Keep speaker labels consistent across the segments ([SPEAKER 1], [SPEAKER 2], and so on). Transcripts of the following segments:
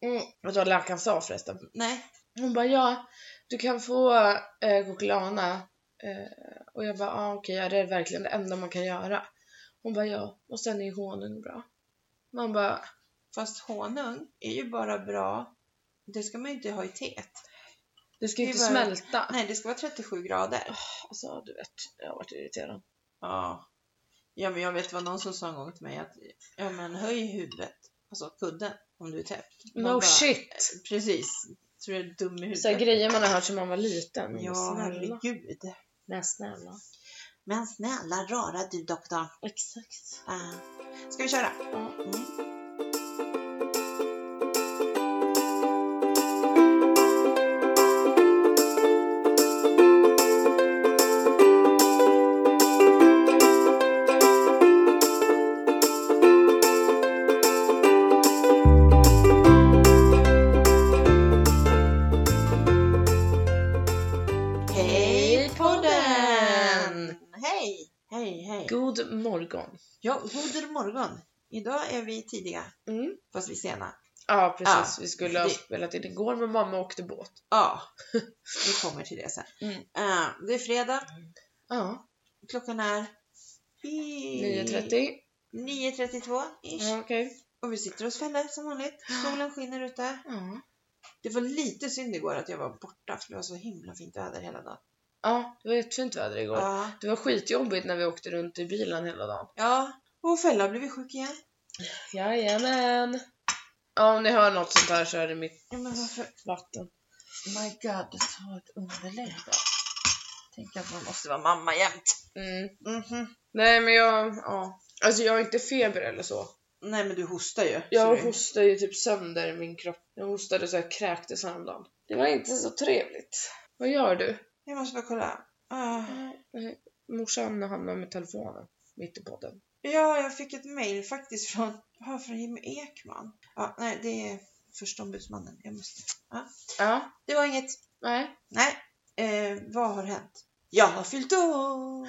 [SPEAKER 1] Mm. Vet du vad läkaren sa förresten?
[SPEAKER 2] Nej.
[SPEAKER 1] Hon bara ja, du kan få eh, Goklana. Eh, och jag bara ah, okej, ja, det är verkligen det enda man kan göra. Hon bara ja, och sen är honung bra. Man bara
[SPEAKER 2] Fast honung är ju bara bra. Det ska man ju inte ha i teet.
[SPEAKER 1] det ska ju
[SPEAKER 2] Det
[SPEAKER 1] inte
[SPEAKER 2] var-
[SPEAKER 1] smälta.
[SPEAKER 2] Nej, det ska vara 37 grader.
[SPEAKER 1] Alltså du vet, jag har varit irriterad.
[SPEAKER 2] Ja. Ja, men jag vet vad någon som sa en gång till mig att ja, men höj huvudet, alltså kudden, om du är täppt. Man
[SPEAKER 1] No
[SPEAKER 2] bara,
[SPEAKER 1] shit!
[SPEAKER 2] Precis. Tror du jag är dum i
[SPEAKER 1] Så här
[SPEAKER 2] huvudet?
[SPEAKER 1] grejer man har hört som man var liten. Men
[SPEAKER 2] Ja,
[SPEAKER 1] snälla.
[SPEAKER 2] herregud.
[SPEAKER 1] Nej, snälla.
[SPEAKER 2] Men snälla rara du doktorn.
[SPEAKER 1] Exakt.
[SPEAKER 2] Ah. Ska vi köra?
[SPEAKER 1] Ja.
[SPEAKER 2] Hej podden!
[SPEAKER 1] podden!
[SPEAKER 2] Hej! Hej, hej.
[SPEAKER 1] God morgon.
[SPEAKER 2] Ja, god morgon. Idag är vi tidiga,
[SPEAKER 1] Mm.
[SPEAKER 2] fast vi är sena.
[SPEAKER 1] Ja precis, vi skulle ha
[SPEAKER 2] det-
[SPEAKER 1] spelat in igår men mamma åkte båt.
[SPEAKER 2] Ja, vi kommer till det sen.
[SPEAKER 1] Mm.
[SPEAKER 2] Eh, det är fredag,
[SPEAKER 1] Ja,
[SPEAKER 2] klockan är
[SPEAKER 1] 9.30.
[SPEAKER 2] 9.32 ish.
[SPEAKER 1] Ja, okej.
[SPEAKER 2] Och vi sitter hos Felle som vanligt. Solen skiner ute.
[SPEAKER 1] Ja.
[SPEAKER 2] Det var lite synd igår att jag var borta för det var så himla fint väder hela dagen.
[SPEAKER 1] ja, det var jättefint väder igår.
[SPEAKER 2] Ja,
[SPEAKER 1] Det var skitjobbigt när vi åkte runt i bilen hela dagen.
[SPEAKER 2] ja. och Felle har blivit sjuk igen.
[SPEAKER 1] Jajamän! Ja, om ni hör något sånt här så är det mitt
[SPEAKER 2] Ja, men varför?
[SPEAKER 1] vatten.
[SPEAKER 2] My god, ta ett underlägg då. Tänk att man måste vara mamma jämt.
[SPEAKER 1] Mm.
[SPEAKER 2] Mhm.
[SPEAKER 1] Nej men jag, ja. Alltså jag har inte feber eller så.
[SPEAKER 2] Nej men du hostar ju.
[SPEAKER 1] Jag
[SPEAKER 2] så du-
[SPEAKER 1] hostar ju typ sönder min kropp. Jag hostade så jag kräktes häromdagen. Det var inte så trevligt. Vad gör du?
[SPEAKER 2] Jag måste bara kolla. Ah.
[SPEAKER 1] Mm. Nej, Morsan hamnar med telefonen mitt i podden.
[SPEAKER 2] Ja, jag fick ett mejl faktiskt från, ah, från Jimmy Ekman. Ja, nej, det är förstombudsmannen. Jag måste.
[SPEAKER 1] Ja,
[SPEAKER 2] Det var inget.
[SPEAKER 1] nej.
[SPEAKER 2] Nej. Eh, vad har hänt? Jag har fyllt år.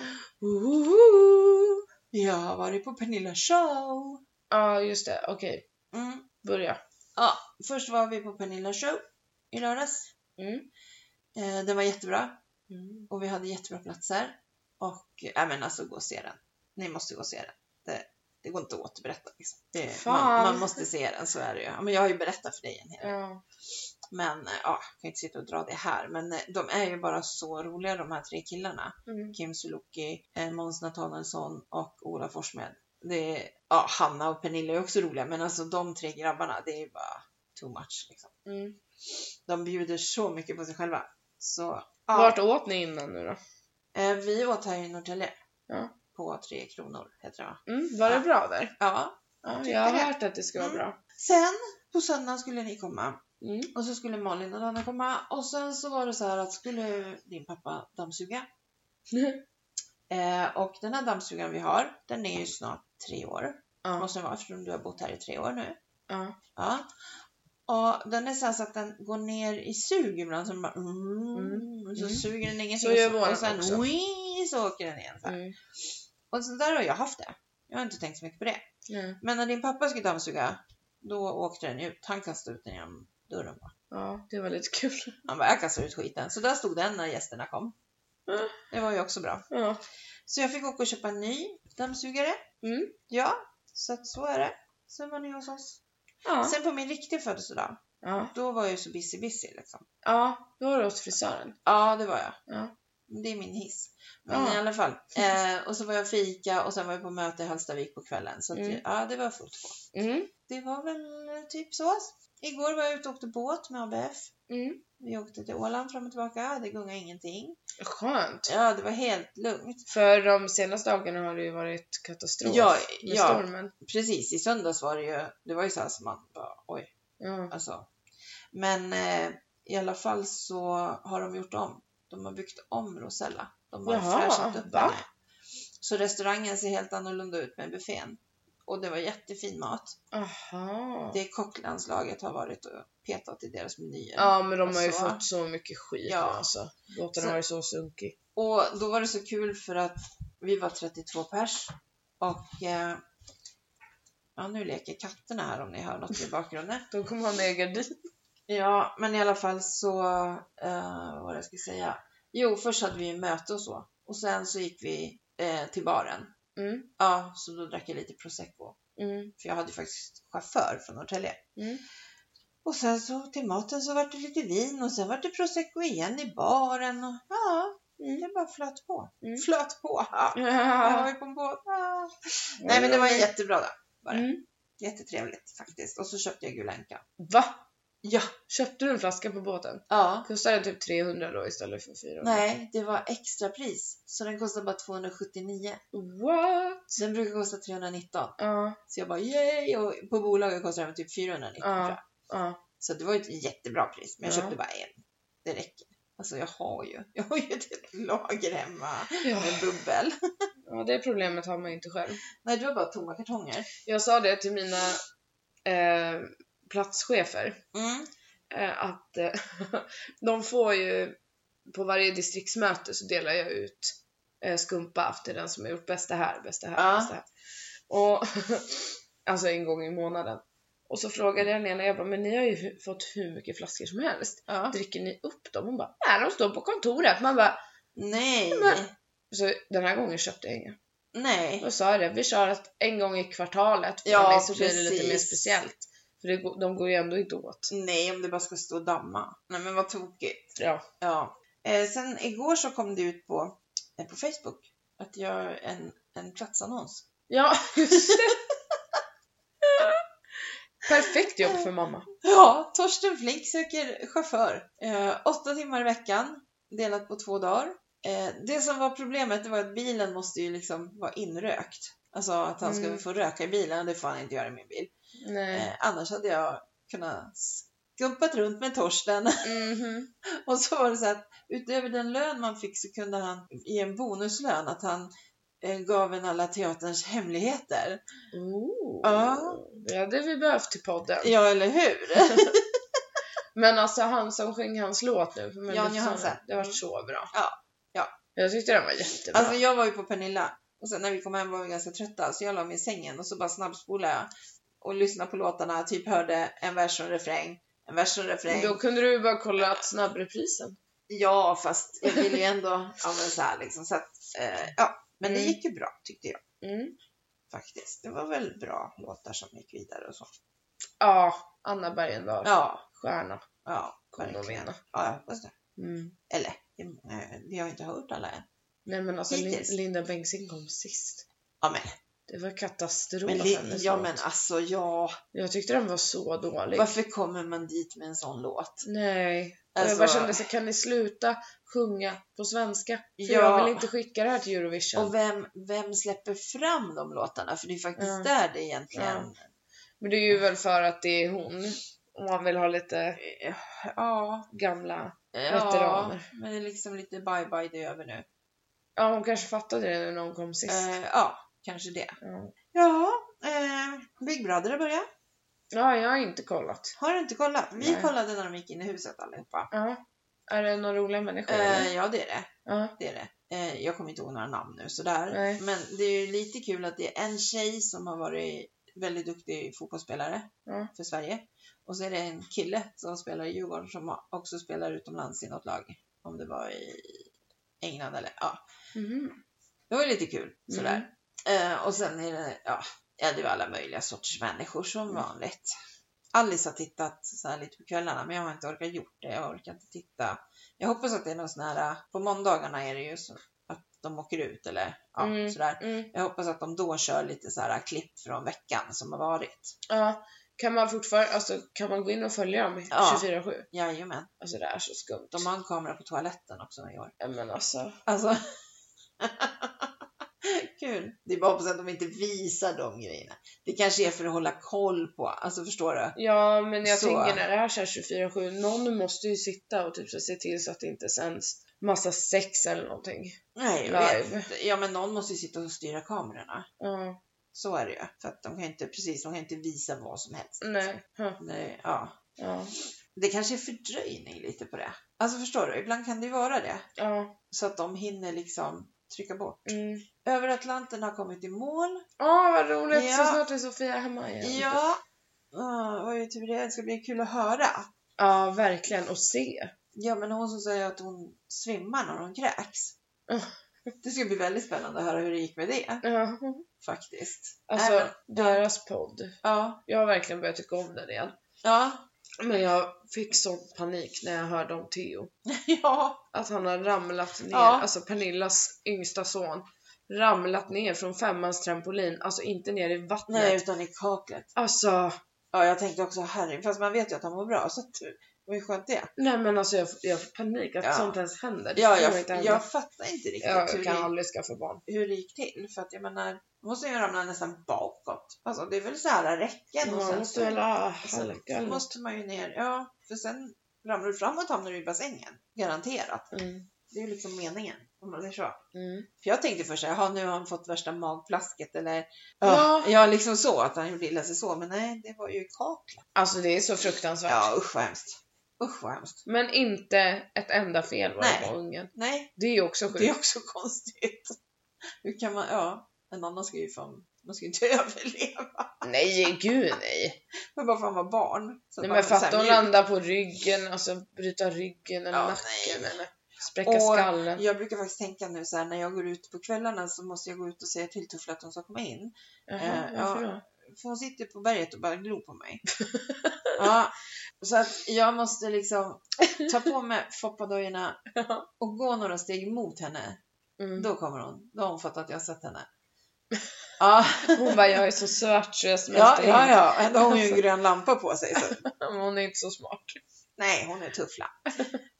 [SPEAKER 1] Ooh.
[SPEAKER 2] Jag har varit på Pernilla show.
[SPEAKER 1] Ja, just det. Okej,
[SPEAKER 2] Mm.
[SPEAKER 1] börja.
[SPEAKER 2] Ja, först var vi på Pernilla show i lördags.
[SPEAKER 1] Mm.
[SPEAKER 2] Eh, den var jättebra och vi hade jättebra platser. Och, äh, men alltså gå och se den. Ni måste gå och se den. Det, det går inte att återberätta. Liksom. Det, man,
[SPEAKER 1] Fan.
[SPEAKER 2] man måste se den, så är det ju. Ja, men jag har ju berättat för dig en hel
[SPEAKER 1] Ja.
[SPEAKER 2] Men eh, ja, jag kan inte sitta och dra det här. Men eh, de är ju bara så roliga de här tre killarna.
[SPEAKER 1] Mm.
[SPEAKER 2] Kim Sulocki, eh, Måns Nathanaelsson och Ola Forssmed. Det är, ja, Hanna och Pernilla är också roliga, men alltså de tre grabbarna, det är ju bara too much. Liksom.
[SPEAKER 1] Mm.
[SPEAKER 2] De bjuder så mycket på sig själva. Så ja,
[SPEAKER 1] Vart åt ni innan nu då?
[SPEAKER 2] eh, vi åt här i Norrtälje.
[SPEAKER 1] Ja.
[SPEAKER 2] På Tre Kronor, heter det va?
[SPEAKER 1] Mm. Var det
[SPEAKER 2] Ja.
[SPEAKER 1] bra där?
[SPEAKER 2] Ja.
[SPEAKER 1] Ja,
[SPEAKER 2] tyckte
[SPEAKER 1] jag har
[SPEAKER 2] det.
[SPEAKER 1] hört att det ska vara
[SPEAKER 2] Mm.
[SPEAKER 1] bra.
[SPEAKER 2] Sen på söndagen skulle ni komma.
[SPEAKER 1] Mm.
[SPEAKER 2] Och så skulle Malin och Danne komma och sen så var det så här att skulle din pappa dammsuga? Eh, och den här dammsugaren vi har, den är ju snart tre år.
[SPEAKER 1] Ja.
[SPEAKER 2] Måste den vara eftersom du har bott här i tre år nu.
[SPEAKER 1] Ja.
[SPEAKER 2] Ja. Och den är så, här så att den går ner i sug ibland. Så den bara, mm,
[SPEAKER 1] Mm.
[SPEAKER 2] så
[SPEAKER 1] Mm.
[SPEAKER 2] suger den ingenting.
[SPEAKER 1] Så gör
[SPEAKER 2] och
[SPEAKER 1] våran
[SPEAKER 2] och sen
[SPEAKER 1] också.
[SPEAKER 2] wii, så åker den igen. Så här.
[SPEAKER 1] Mm.
[SPEAKER 2] Och så där har jag haft det. Jag har inte tänkt så mycket på det.
[SPEAKER 1] Ja.
[SPEAKER 2] Men när din pappa skulle dammsuga, då åkte den ut. Han kastade ut den genom dörren bara.
[SPEAKER 1] ja, det var lite kul.
[SPEAKER 2] Han bara, jag kastar ut skiten. Så där stod den när gästerna kom.
[SPEAKER 1] Mm.
[SPEAKER 2] Det var ju också bra.
[SPEAKER 1] Ja.
[SPEAKER 2] Så jag fick åka och köpa en ny dammsugare.
[SPEAKER 1] Mm.
[SPEAKER 2] Ja, så att så är det. Sen var ni hos oss.
[SPEAKER 1] Ja.
[SPEAKER 2] Sen på min riktiga födelsedag,
[SPEAKER 1] Ja.
[SPEAKER 2] då var jag ju så busy busy liksom.
[SPEAKER 1] ja, då var det hos frisören.
[SPEAKER 2] Ja, det var jag.
[SPEAKER 1] Ja.
[SPEAKER 2] Det är min hiss. Men
[SPEAKER 1] Ja.
[SPEAKER 2] i alla fall. Eh, och så var jag fika och sen var jag på möte i Hallstavik på kvällen. Så att,
[SPEAKER 1] Mm.
[SPEAKER 2] ja, det var fullt på.
[SPEAKER 1] Mm.
[SPEAKER 2] Det var väl eh, typ så. Igår var jag ute och åkte båt med ABF.
[SPEAKER 1] Mm.
[SPEAKER 2] Vi åkte till Åland fram och tillbaka. Det gungade ingenting.
[SPEAKER 1] Skönt.
[SPEAKER 2] Ja, det var helt lugnt.
[SPEAKER 1] För de senaste dagarna har det ju varit katastrof
[SPEAKER 2] Ja,
[SPEAKER 1] med
[SPEAKER 2] ja.
[SPEAKER 1] stormen.
[SPEAKER 2] precis, i söndags var det ju, det var ju så här som man bara, oj,
[SPEAKER 1] Ja.
[SPEAKER 2] alltså. Men eh, i alla fall så har de gjort om. De har byggt om Rosella. De har
[SPEAKER 1] Jaha,
[SPEAKER 2] fräschat upp
[SPEAKER 1] va?
[SPEAKER 2] henne. Så restaurangen ser helt annorlunda ut med buffén. Och det var jättefin mat.
[SPEAKER 1] Aha.
[SPEAKER 2] Det kocklandslaget har varit och petat i deras menyer.
[SPEAKER 1] Ja men de har ju
[SPEAKER 2] Alltså.
[SPEAKER 1] fått så mycket skit
[SPEAKER 2] Ja.
[SPEAKER 1] nu alltså. Båten
[SPEAKER 2] Så-
[SPEAKER 1] har varit så sunkig.
[SPEAKER 2] Och då var det så kul för att vi var 32 pers och eh, Ja, nu leker katterna här om ni hör något i bakgrunden.
[SPEAKER 1] Då kommer han med gardin.
[SPEAKER 2] Ja, men i alla fall så, eh, vad jag ska säga. Jo, först hade vi ju möte och så. Och sen så gick vi eh, till baren.
[SPEAKER 1] Mm.
[SPEAKER 2] Ja, så då drack jag lite prosecco.
[SPEAKER 1] Mm.
[SPEAKER 2] För jag hade ju faktiskt chaufför från Norrtälje.
[SPEAKER 1] Mm.
[SPEAKER 2] Och sen så till maten så vart det lite vin och sen vart det prosecco igen i baren. Och, ja,
[SPEAKER 1] Mm.
[SPEAKER 2] det bara flöt på.
[SPEAKER 1] Mm.
[SPEAKER 2] Flöt på! Ja,
[SPEAKER 1] Ja.
[SPEAKER 2] jag kom på. Ja. Nej, men det var en jättebra dag. Var det.
[SPEAKER 1] Mm.
[SPEAKER 2] Jättetrevligt faktiskt. Och så köpte jag gulanka.
[SPEAKER 1] Va?
[SPEAKER 2] Ja.
[SPEAKER 1] Köpte du en flaska på båten?
[SPEAKER 2] Ja.
[SPEAKER 1] Kostade den typ 300 då istället för 400?
[SPEAKER 2] Nej, det var extrapris. Så den kostade bara 279.
[SPEAKER 1] What?
[SPEAKER 2] Den brukar kosta 319.
[SPEAKER 1] Ja,
[SPEAKER 2] Så jag bara yay! Och på bolaget kostar den typ 419
[SPEAKER 1] Ja.
[SPEAKER 2] tror jag.
[SPEAKER 1] ja.
[SPEAKER 2] Så det var ju ett jättebra pris. Men jag
[SPEAKER 1] Ja.
[SPEAKER 2] köpte bara en. Det räcker. Alltså jag har ju. Jag har ju ett helt lager hemma
[SPEAKER 1] Ja.
[SPEAKER 2] med bubbel.
[SPEAKER 1] ja, det problemet har man inte själv.
[SPEAKER 2] Nej, det var bara tomma kartonger.
[SPEAKER 1] Jag sa det till mina eh, platschefer.
[SPEAKER 2] Mm.
[SPEAKER 1] eh, att eh, de får ju på varje distriktsmöte så delar jag ut eh, skumpa efter den som har gjort bäst det här, bäst det här,
[SPEAKER 2] Ja.
[SPEAKER 1] bäst det här. Och, alltså en gång i månaden. Och så frågade jag Lena, jag bara, men ni har ju hu- fått hur mycket flaskor som helst.
[SPEAKER 2] Ja.
[SPEAKER 1] Dricker ni upp dem? Hon bara, nej de står på kontoret. Man bara,
[SPEAKER 2] Nej.
[SPEAKER 1] Men- så den här gången köpte jag inga.
[SPEAKER 2] Nej.
[SPEAKER 1] Då sa jag det, vi kör att en gång i kvartalet för
[SPEAKER 2] Ja,
[SPEAKER 1] mig så blir det lite mer
[SPEAKER 2] precis.
[SPEAKER 1] speciellt. För det, går- de går ju ändå inte åt.
[SPEAKER 2] Nej, om det bara ska stå och damma. Nej, men vad tokigt.
[SPEAKER 1] Ja.
[SPEAKER 2] Ja. Eh, sen igår så kom det ut på, eh, på Facebook att jag gör en, en platsannons.
[SPEAKER 1] Ja, just det. Perfekt jobb för mamma.
[SPEAKER 2] Ja, Torsten Flink söker chaufför. Eh, åtta timmar i veckan, delat på två dagar. Eh, det som var problemet det var att bilen måste ju liksom vara inrökt. Alltså att han skulle
[SPEAKER 1] Mm.
[SPEAKER 2] få röka i bilen, det får han inte göra i min bil.
[SPEAKER 1] Nej.
[SPEAKER 2] Eh, annars hade jag kunnat skumpat runt med Torsten. Mm-hmm.
[SPEAKER 1] Mhm.
[SPEAKER 2] Och så var det så att utöver den lön man fick så kunde han ge en bonuslön att han eh, gav en alla teaterns hemligheter.
[SPEAKER 1] Ooh.
[SPEAKER 2] Ja.
[SPEAKER 1] Det hade vi behövt till podden.
[SPEAKER 2] Ja, eller hur?
[SPEAKER 1] Men alltså han som sjöng hans låt nu. för Mel
[SPEAKER 2] Jan
[SPEAKER 1] Gibson,
[SPEAKER 2] Johansen.
[SPEAKER 1] Det var så bra.
[SPEAKER 2] Ja, ja.
[SPEAKER 1] Jag tyckte den var jättebra.
[SPEAKER 2] Alltså jag var ju på Pernilla och sen när vi kom hem var vi ganska trötta så jag la mig i sängen och så bara snabbspolade jag och lyssnade på låtarna, typ hörde en vers och en refräng, en vers och en refräng.
[SPEAKER 1] Då kunde du ju bara kolla snabbreprisen.
[SPEAKER 2] Ja, fast jag ville ju ändå, ja men så här liksom så att, eh, ja. Men det
[SPEAKER 1] Mm.
[SPEAKER 2] gick ju bra tyckte jag
[SPEAKER 1] Mm.
[SPEAKER 2] faktiskt. Det var väl bra låtar som gick vidare och så.
[SPEAKER 1] Ja, Anna Bergendahl.
[SPEAKER 2] Ja,
[SPEAKER 1] Stjärna.
[SPEAKER 2] ja,
[SPEAKER 1] Kommer att
[SPEAKER 2] verkligen.
[SPEAKER 1] vinna.
[SPEAKER 2] Ja, jag hoppas det.
[SPEAKER 1] Mm.
[SPEAKER 2] Eller, det är många, vi har ju inte hört alla än.
[SPEAKER 1] Nej men alltså Lin-
[SPEAKER 2] Hittills.
[SPEAKER 1] Linda Bengtzing kom sist.
[SPEAKER 2] Ja men,
[SPEAKER 1] Det var katastrof.
[SPEAKER 2] men, li-
[SPEAKER 1] hennes
[SPEAKER 2] ja,
[SPEAKER 1] låt.
[SPEAKER 2] men alltså ja,
[SPEAKER 1] Jag tyckte den var så dålig.
[SPEAKER 2] varför kommer man dit med en sån låt?
[SPEAKER 1] Nej,
[SPEAKER 2] Alltså-
[SPEAKER 1] jag bara kände så kan ni sluta sjunga på svenska? För
[SPEAKER 2] Ja.
[SPEAKER 1] jag vill inte skicka det här till Eurovision.
[SPEAKER 2] Och vem, vem släpper fram de låtarna? För det är faktiskt
[SPEAKER 1] Ja.
[SPEAKER 2] där det egentligen...
[SPEAKER 1] Men det är ju väl för att det är hon. Om man vill ha lite
[SPEAKER 2] Ja,
[SPEAKER 1] gamla...
[SPEAKER 2] eh, ja,
[SPEAKER 1] Veteraner.
[SPEAKER 2] men det är liksom lite bye-bye det är över nu.
[SPEAKER 1] Ja, hon kanske fattade det nu när hon kom sist.
[SPEAKER 2] Eh, ja, kanske det.
[SPEAKER 1] Ja.
[SPEAKER 2] Ja, eh, Big Brother har börjat.
[SPEAKER 1] ja, jag har inte kollat.
[SPEAKER 2] Har du inte kollat? Vi
[SPEAKER 1] Nej.
[SPEAKER 2] kollade när de gick in i huset allihopa.
[SPEAKER 1] Ja. Är det några roliga människor? eller?
[SPEAKER 2] Eh, ja, det är det.
[SPEAKER 1] Ja.
[SPEAKER 2] det, är det. Eh, jag kommer inte ihåg några namn nu sådär.
[SPEAKER 1] Nej.
[SPEAKER 2] Men det är ju lite kul att det är en tjej som har varit väldigt duktig fotbollsspelare
[SPEAKER 1] Ja.
[SPEAKER 2] för Sverige. Och så är det en kille som spelar i Djurgården som också spelar utomlands i något lag. Om det var i England eller ja.
[SPEAKER 1] Mhm.
[SPEAKER 2] Det var ju lite kul sådär.
[SPEAKER 1] Mm.
[SPEAKER 2] Eh, och sen är det, ja, ja, det var alla möjliga sorters människor som
[SPEAKER 1] Mm.
[SPEAKER 2] vanligt. Alice har tittat så här lite på kvällarna men jag har inte orkat gjort det. Jag orkar inte titta. Jag hoppas att det är någon sån här, på måndagarna är det ju så att de åker ut eller ja,
[SPEAKER 1] Mm.
[SPEAKER 2] sådär.
[SPEAKER 1] Mm.
[SPEAKER 2] Jag hoppas att de då kör lite så här klipp från veckan som har varit.
[SPEAKER 1] Ja. Kan man fortfarande, alltså kan man gå in och följa dem
[SPEAKER 2] Ja.
[SPEAKER 1] 24-7?
[SPEAKER 2] Jajamän.
[SPEAKER 1] Alltså det är så skumt.
[SPEAKER 2] De har en kamera på toaletten också i år.
[SPEAKER 1] Ja, men alltså.
[SPEAKER 2] Alltså. Kul. Det är bara att hoppas att de inte visar de grejerna. Det kanske är för att hålla koll på. Alltså förstår du?
[SPEAKER 1] Ja, men jag
[SPEAKER 2] Så.
[SPEAKER 1] tänker när det här så här 24-7, någon måste ju sitta och typ så se till så att det inte sänds massa sex eller någonting.
[SPEAKER 2] Nej, jag vet.
[SPEAKER 1] Live.
[SPEAKER 2] Ja, men någon måste ju sitta och styra kamerorna.
[SPEAKER 1] Ja,
[SPEAKER 2] Så är det ju. För att de kan ju inte, precis, de kan ju inte visa vad som helst.
[SPEAKER 1] nej. Ja,
[SPEAKER 2] Nej, ja.
[SPEAKER 1] ja,
[SPEAKER 2] Det kanske är fördröjning lite på det. Alltså förstår du? Ibland kan det ju vara det.
[SPEAKER 1] ja.
[SPEAKER 2] Så att de hinner liksom trycka bort.
[SPEAKER 1] Mm.
[SPEAKER 2] Över Atlanten har kommit i mål.
[SPEAKER 1] Åh, vad roligt! Så
[SPEAKER 2] Ja.
[SPEAKER 1] snart är Sofia hemma igen.
[SPEAKER 2] Ja, uh, vad är tur det? Det ska bli kul att höra.
[SPEAKER 1] Ja, verkligen. Och se.
[SPEAKER 2] Ja, men hon som säger att hon svimmar när hon kräks.
[SPEAKER 1] Mm.
[SPEAKER 2] Det ska bli väldigt spännande att höra hur det gick med det,
[SPEAKER 1] Ja.
[SPEAKER 2] faktiskt.
[SPEAKER 1] Alltså,
[SPEAKER 2] Nej,
[SPEAKER 1] deras podd.
[SPEAKER 2] Ja,
[SPEAKER 1] Jag har verkligen börjat tycka om den igen.
[SPEAKER 2] ja,
[SPEAKER 1] Men jag fick sån panik när jag hörde om Theo.
[SPEAKER 2] ja,
[SPEAKER 1] Att han har ramlat ner,
[SPEAKER 2] Ja.
[SPEAKER 1] alltså Pernillas yngsta son, ramlat ner från femmans trampolin. Alltså inte ner i vattnet.
[SPEAKER 2] nej, utan i kaklet.
[SPEAKER 1] Alltså,
[SPEAKER 2] Ja, jag tänkte också herregud, fast man vet ju att han mår bra, så att, det var ju skönt det.
[SPEAKER 1] nej men alltså jag, jag får panik att
[SPEAKER 2] Ja.
[SPEAKER 1] sånt ens händer. Det
[SPEAKER 2] Ja,
[SPEAKER 1] kan inte
[SPEAKER 2] jag,
[SPEAKER 1] hända.
[SPEAKER 2] jag fattar inte riktigt
[SPEAKER 1] jag,
[SPEAKER 2] hur,
[SPEAKER 1] kan
[SPEAKER 2] det,
[SPEAKER 1] aldrig skaffa barn.
[SPEAKER 2] hur det gick till, för att jag menar, hon måste ju ramla nästan bakåt. Alltså, det är väl så här räcken och
[SPEAKER 1] Man
[SPEAKER 2] sen
[SPEAKER 1] måste väl ha
[SPEAKER 2] Sen
[SPEAKER 1] halka eller något.
[SPEAKER 2] måste man ju ner, ja, för sen ramlar du framåt hamnar du i bassängen. Garanterat.
[SPEAKER 1] Mm,
[SPEAKER 2] Det är ju liksom meningen, om man säger så.
[SPEAKER 1] mm.
[SPEAKER 2] För jag tänkte först såhär, nu har han fått värsta magplasket eller
[SPEAKER 1] Ja.
[SPEAKER 2] ja. ja, liksom så, att han gjorde illa sig så. Men nej, det var ju kaklet.
[SPEAKER 1] Alltså det är så fruktansvärt.
[SPEAKER 2] Ja, usch vad hemskt. Usch vad hemskt.
[SPEAKER 1] Men inte ett enda fel var det
[SPEAKER 2] Nej.
[SPEAKER 1] på ungen.
[SPEAKER 2] Nej,
[SPEAKER 1] Det är ju också sjukt.
[SPEAKER 2] det är också konstigt. Hur kan man, ja, en annan ska ju fan, man ska ju inte överleva.
[SPEAKER 1] Nej, gud nej.
[SPEAKER 2] Men bara för att han var barn. Så
[SPEAKER 1] nej
[SPEAKER 2] att
[SPEAKER 1] men
[SPEAKER 2] han var så här
[SPEAKER 1] fatta hon
[SPEAKER 2] mjuk.
[SPEAKER 1] landar på ryggen, alltså bryta ryggen eller
[SPEAKER 2] Ja,
[SPEAKER 1] nacken
[SPEAKER 2] nej.
[SPEAKER 1] eller spräcka
[SPEAKER 2] Och-
[SPEAKER 1] skallen.
[SPEAKER 2] Jag brukar faktiskt tänka nu så här när jag går ut på kvällarna så måste jag gå ut och säga till Tuffla att hon ska komma in.
[SPEAKER 1] Jaha,
[SPEAKER 2] Eh,
[SPEAKER 1] varför
[SPEAKER 2] ja.
[SPEAKER 1] då?
[SPEAKER 2] För hon sitter på berget och bara glor på mig. ja, så att jag måste liksom ta på mig foppadojorna
[SPEAKER 1] Ja.
[SPEAKER 2] och gå några steg mot henne.
[SPEAKER 1] Mm.
[SPEAKER 2] Då kommer hon. Då har hon fattat att jag har sett henne. Ja,
[SPEAKER 1] Hon bara, jag är så söt så jag
[SPEAKER 2] ja,
[SPEAKER 1] smälter
[SPEAKER 2] ja,
[SPEAKER 1] in.
[SPEAKER 2] ja. Ändå har hon ju en grön lampa på sig. Så.
[SPEAKER 1] Men Hon är inte så smart.
[SPEAKER 2] Nej, hon är tuffla.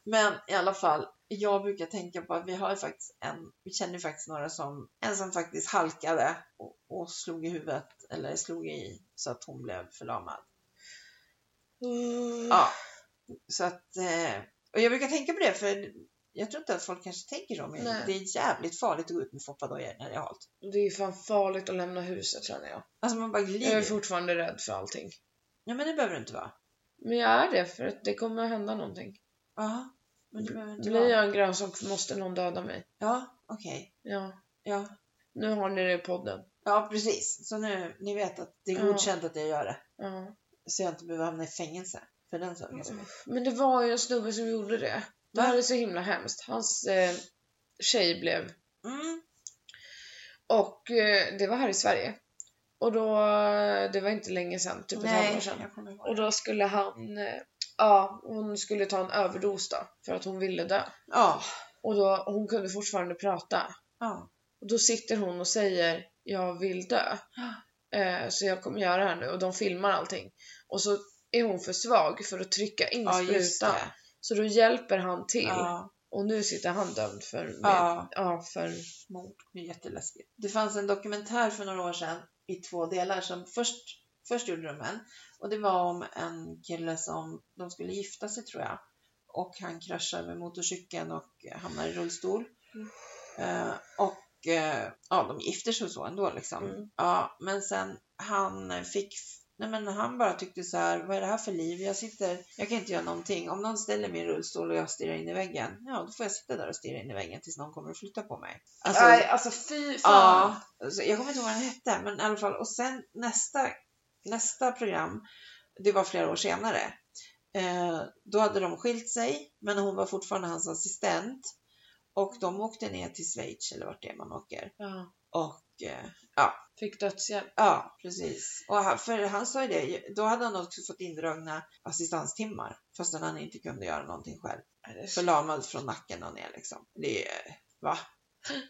[SPEAKER 2] Men i alla fall, jag brukar tänka på att vi har ju faktiskt en, vi känner ju faktiskt några som, en som faktiskt halkade och, och slog i huvudet, eller slog i så att hon blev förlamad.
[SPEAKER 1] Mm.
[SPEAKER 2] Ja. Så att, eh, och jag brukar tänka på det för jag tror inte att folk kanske tänker så, men
[SPEAKER 1] Nej.
[SPEAKER 2] det är jävligt farligt att gå ut med foppadojor när det är halt.
[SPEAKER 1] Det är fan farligt att lämna huset känner jag.
[SPEAKER 2] Alltså man bara
[SPEAKER 1] Jag är
[SPEAKER 2] glider.
[SPEAKER 1] fortfarande rädd för allting.
[SPEAKER 2] Ja men det behöver du inte vara.
[SPEAKER 1] Men jag är det för att det kommer att hända någonting.
[SPEAKER 2] Ja, men det behöver du inte
[SPEAKER 1] Blir
[SPEAKER 2] vara.
[SPEAKER 1] jag en grönsak måste någon döda mig.
[SPEAKER 2] Ja, okej.
[SPEAKER 1] Ja,
[SPEAKER 2] Ja.
[SPEAKER 1] nu har ni det i podden.
[SPEAKER 2] ja, precis. Så nu, ni vet att det är
[SPEAKER 1] Ja.
[SPEAKER 2] godkänt att jag gör det.
[SPEAKER 1] Ja.
[SPEAKER 2] så jag inte behöver hamna i fängelse för den sakens skull.
[SPEAKER 1] Men det var ju en snubbe som gjorde det. Det här är så himla hemskt. Hans eh, tjej blev
[SPEAKER 2] Mm.
[SPEAKER 1] och eh, det var här i Sverige. Och då, eh, det var inte länge sedan, typ ett halvår
[SPEAKER 2] Nej,
[SPEAKER 1] sedan.
[SPEAKER 2] jag kommer ihåg.
[SPEAKER 1] Och då skulle han,
[SPEAKER 2] Mm.
[SPEAKER 1] eh, ja hon skulle ta en överdos då för att hon ville dö.
[SPEAKER 2] Ja,
[SPEAKER 1] Och då, hon kunde fortfarande prata.
[SPEAKER 2] ja,
[SPEAKER 1] Och då sitter hon och säger jag vill dö. Eh, så jag kommer göra det här nu och de filmar allting. Och så är hon för svag för att trycka in
[SPEAKER 2] ja, just
[SPEAKER 1] sprutan.
[SPEAKER 2] det.
[SPEAKER 1] Så då hjälper han till.
[SPEAKER 2] Ja,
[SPEAKER 1] Och nu sitter han dömd för, med, ja.
[SPEAKER 2] ja,
[SPEAKER 1] för
[SPEAKER 2] mord. Det är jätteläskigt. Det fanns en dokumentär för några år sedan i två delar som först, först gjorde de en och det var om en kille som de skulle gifta sig tror jag och han kraschar med motorcykeln och hamnar i rullstol.
[SPEAKER 1] Mm.
[SPEAKER 2] Eh, och eh, ja, de gifter sig och så ändå liksom.
[SPEAKER 1] Mm.
[SPEAKER 2] Ja, men sen han fick Nej men han bara tyckte så här, vad är det här för liv? Jag sitter, jag kan inte göra någonting. Om någon ställer min rullstol och jag stirrar in i väggen, ja då får jag sitta där och stirra in i väggen tills någon kommer och flyttar på mig. Alltså,
[SPEAKER 1] Nej, alltså fy
[SPEAKER 2] ja, alltså, jag kommer inte ihåg vad den hette, men i alla fall. Och sen nästa, nästa program, det var flera år senare, eh, då hade de skilt sig, men hon var fortfarande hans assistent. Och de åkte ner till Schweiz, eller vart det är man åker.
[SPEAKER 1] Ja.
[SPEAKER 2] Och eh,
[SPEAKER 1] Fick dödshjälp.
[SPEAKER 2] Ja, precis. Och han, för han sa ju det, då hade han också fått indragna assistanstimmar fastän han inte kunde göra någonting själv. Förlamad från nacken och ner liksom. Det är, va?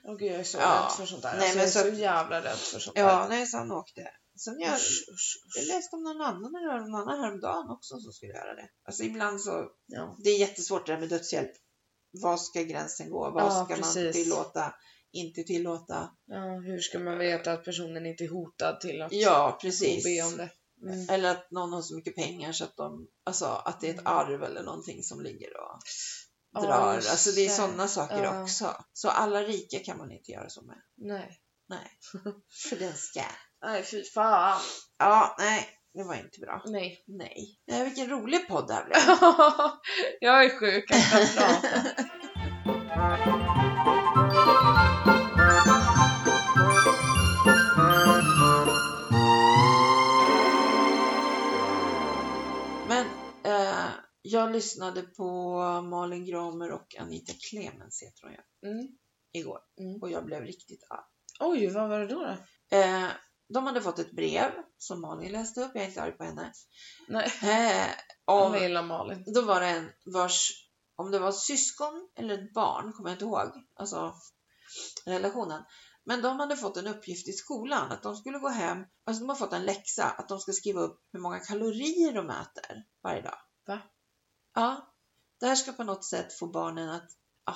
[SPEAKER 1] Åh gud jag är så
[SPEAKER 2] Ja.
[SPEAKER 1] rädd för sånt där.
[SPEAKER 2] Nej,
[SPEAKER 1] alltså, jag
[SPEAKER 2] men
[SPEAKER 1] är
[SPEAKER 2] så-
[SPEAKER 1] så jävla rädd för sånt
[SPEAKER 2] Ja, nej, så han åkte. Sen
[SPEAKER 1] där.
[SPEAKER 2] jag,
[SPEAKER 1] Usch, usch, usch.
[SPEAKER 2] jag läste om någon annan eller någon annan häromdagen också som skulle göra det. Alltså ibland så,
[SPEAKER 1] Ja.
[SPEAKER 2] det är jättesvårt det där med dödshjälp. Var ska gränsen gå? Vad
[SPEAKER 1] Ja,
[SPEAKER 2] ska man
[SPEAKER 1] precis.
[SPEAKER 2] tillåta? Inte tillåta?
[SPEAKER 1] ja, hur ska man veta att personen inte är hotad till att
[SPEAKER 2] Ja,
[SPEAKER 1] få
[SPEAKER 2] precis.
[SPEAKER 1] be om det? Mm.
[SPEAKER 2] Eller att någon har så mycket pengar så att de, alltså att det är ett arv eller någonting som ligger och
[SPEAKER 1] Mm. Ja,
[SPEAKER 2] drar.
[SPEAKER 1] just
[SPEAKER 2] alltså det är
[SPEAKER 1] det.
[SPEAKER 2] sådana saker
[SPEAKER 1] Ja.
[SPEAKER 2] också. Så alla rika kan man inte göra så med.
[SPEAKER 1] Nej.
[SPEAKER 2] För den ska.
[SPEAKER 1] Nej fy fan.
[SPEAKER 2] Ja, nej, det var inte bra.
[SPEAKER 1] Nej.
[SPEAKER 2] Nej. Nej, vilken rolig podd det här blev.
[SPEAKER 1] jag är sjuk, jag kan prata.
[SPEAKER 2] eh, Jag lyssnade på Malin Gramer och Anita Clemens heter hon ja,
[SPEAKER 1] Mm.
[SPEAKER 2] igår
[SPEAKER 1] Mm.
[SPEAKER 2] och jag blev riktigt arg.
[SPEAKER 1] Oj, vad var det då? då?
[SPEAKER 2] Eh, de hade fått ett brev som Malin läste upp, jag är inte arg på henne.
[SPEAKER 1] Nej,
[SPEAKER 2] Eh,
[SPEAKER 1] om
[SPEAKER 2] om,
[SPEAKER 1] jag gillar Malin.
[SPEAKER 2] då var det en vars, om det var syskon eller ett barn, kommer jag inte ihåg, alltså relationen. Men de hade fått en uppgift i skolan att de skulle gå hem, alltså de har fått en läxa att de ska skriva upp hur många kalorier de äter varje dag.
[SPEAKER 1] Va?
[SPEAKER 2] Ja. Det här ska på något sätt få barnen att ja,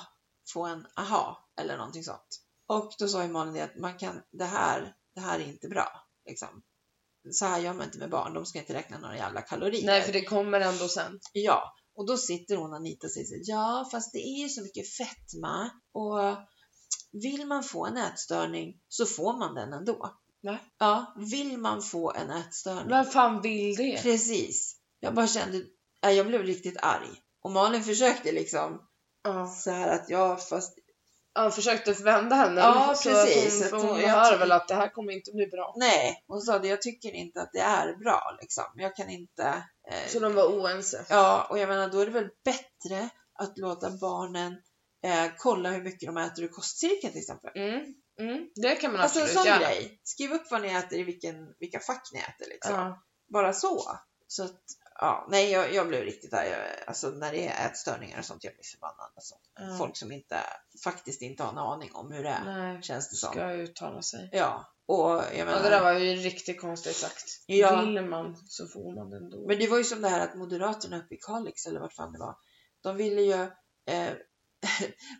[SPEAKER 2] få en aha eller någonting sånt. Och då sa ju Malin det att man kan, det här, det här är inte bra. Liksom. Så här gör man inte med barn, de ska inte räkna några jävla kalorier.
[SPEAKER 1] Nej, för det kommer ändå sen.
[SPEAKER 2] Ja, och då sitter hon Anita och säger så här, ja fast det är ju så mycket fetma och vill man få en ätstörning så får man den ändå.
[SPEAKER 1] Va?
[SPEAKER 2] Ja, vill man få en ätstörning.
[SPEAKER 1] Vem fan vill det?
[SPEAKER 2] Precis. Jag bara kände, nej, jag blev riktigt arg. Och Malin försökte liksom
[SPEAKER 1] Ja.
[SPEAKER 2] så här att jag fast,
[SPEAKER 1] Han försökte vända henne.
[SPEAKER 2] Ja,
[SPEAKER 1] så
[SPEAKER 2] precis.
[SPEAKER 1] Att hon,
[SPEAKER 2] Att
[SPEAKER 1] för hon
[SPEAKER 2] jag
[SPEAKER 1] hör
[SPEAKER 2] tror-
[SPEAKER 1] väl att det här kommer inte bli bra.
[SPEAKER 2] nej. Hon sa det, jag tycker inte att det är bra liksom. Jag kan inte. Eh,
[SPEAKER 1] Så de var oense.
[SPEAKER 2] Ja, och jag menar då är det väl bättre att låta barnen eh, kolla hur mycket de äter ur kostcirkeln till exempel.
[SPEAKER 1] Mm. Mm. Det kan man
[SPEAKER 2] Alltså en
[SPEAKER 1] absolut
[SPEAKER 2] sån
[SPEAKER 1] göra.
[SPEAKER 2] grej. Skriv upp vad ni äter i vilken, vilka fack ni äter liksom.
[SPEAKER 1] Ja.
[SPEAKER 2] Bara så. Så att, ja, nej jag, jag blev riktigt arg. Jag- Alltså när det är ätstörningar och sånt, jag blir förbannad. Alltså.
[SPEAKER 1] Ja.
[SPEAKER 2] Folk som inte, faktiskt inte har en aning om hur det är,
[SPEAKER 1] Nej,
[SPEAKER 2] känns det som.
[SPEAKER 1] ska jag uttala sig.
[SPEAKER 2] Ja, och jag
[SPEAKER 1] Ja,
[SPEAKER 2] menar.
[SPEAKER 1] det där var ju riktigt konstigt sagt.
[SPEAKER 2] Ja.
[SPEAKER 1] Vill man så får man det ändå.
[SPEAKER 2] Men det var ju som det här att Moderaterna uppe i Kalix, eller vart fan det var, de ville ju, eh,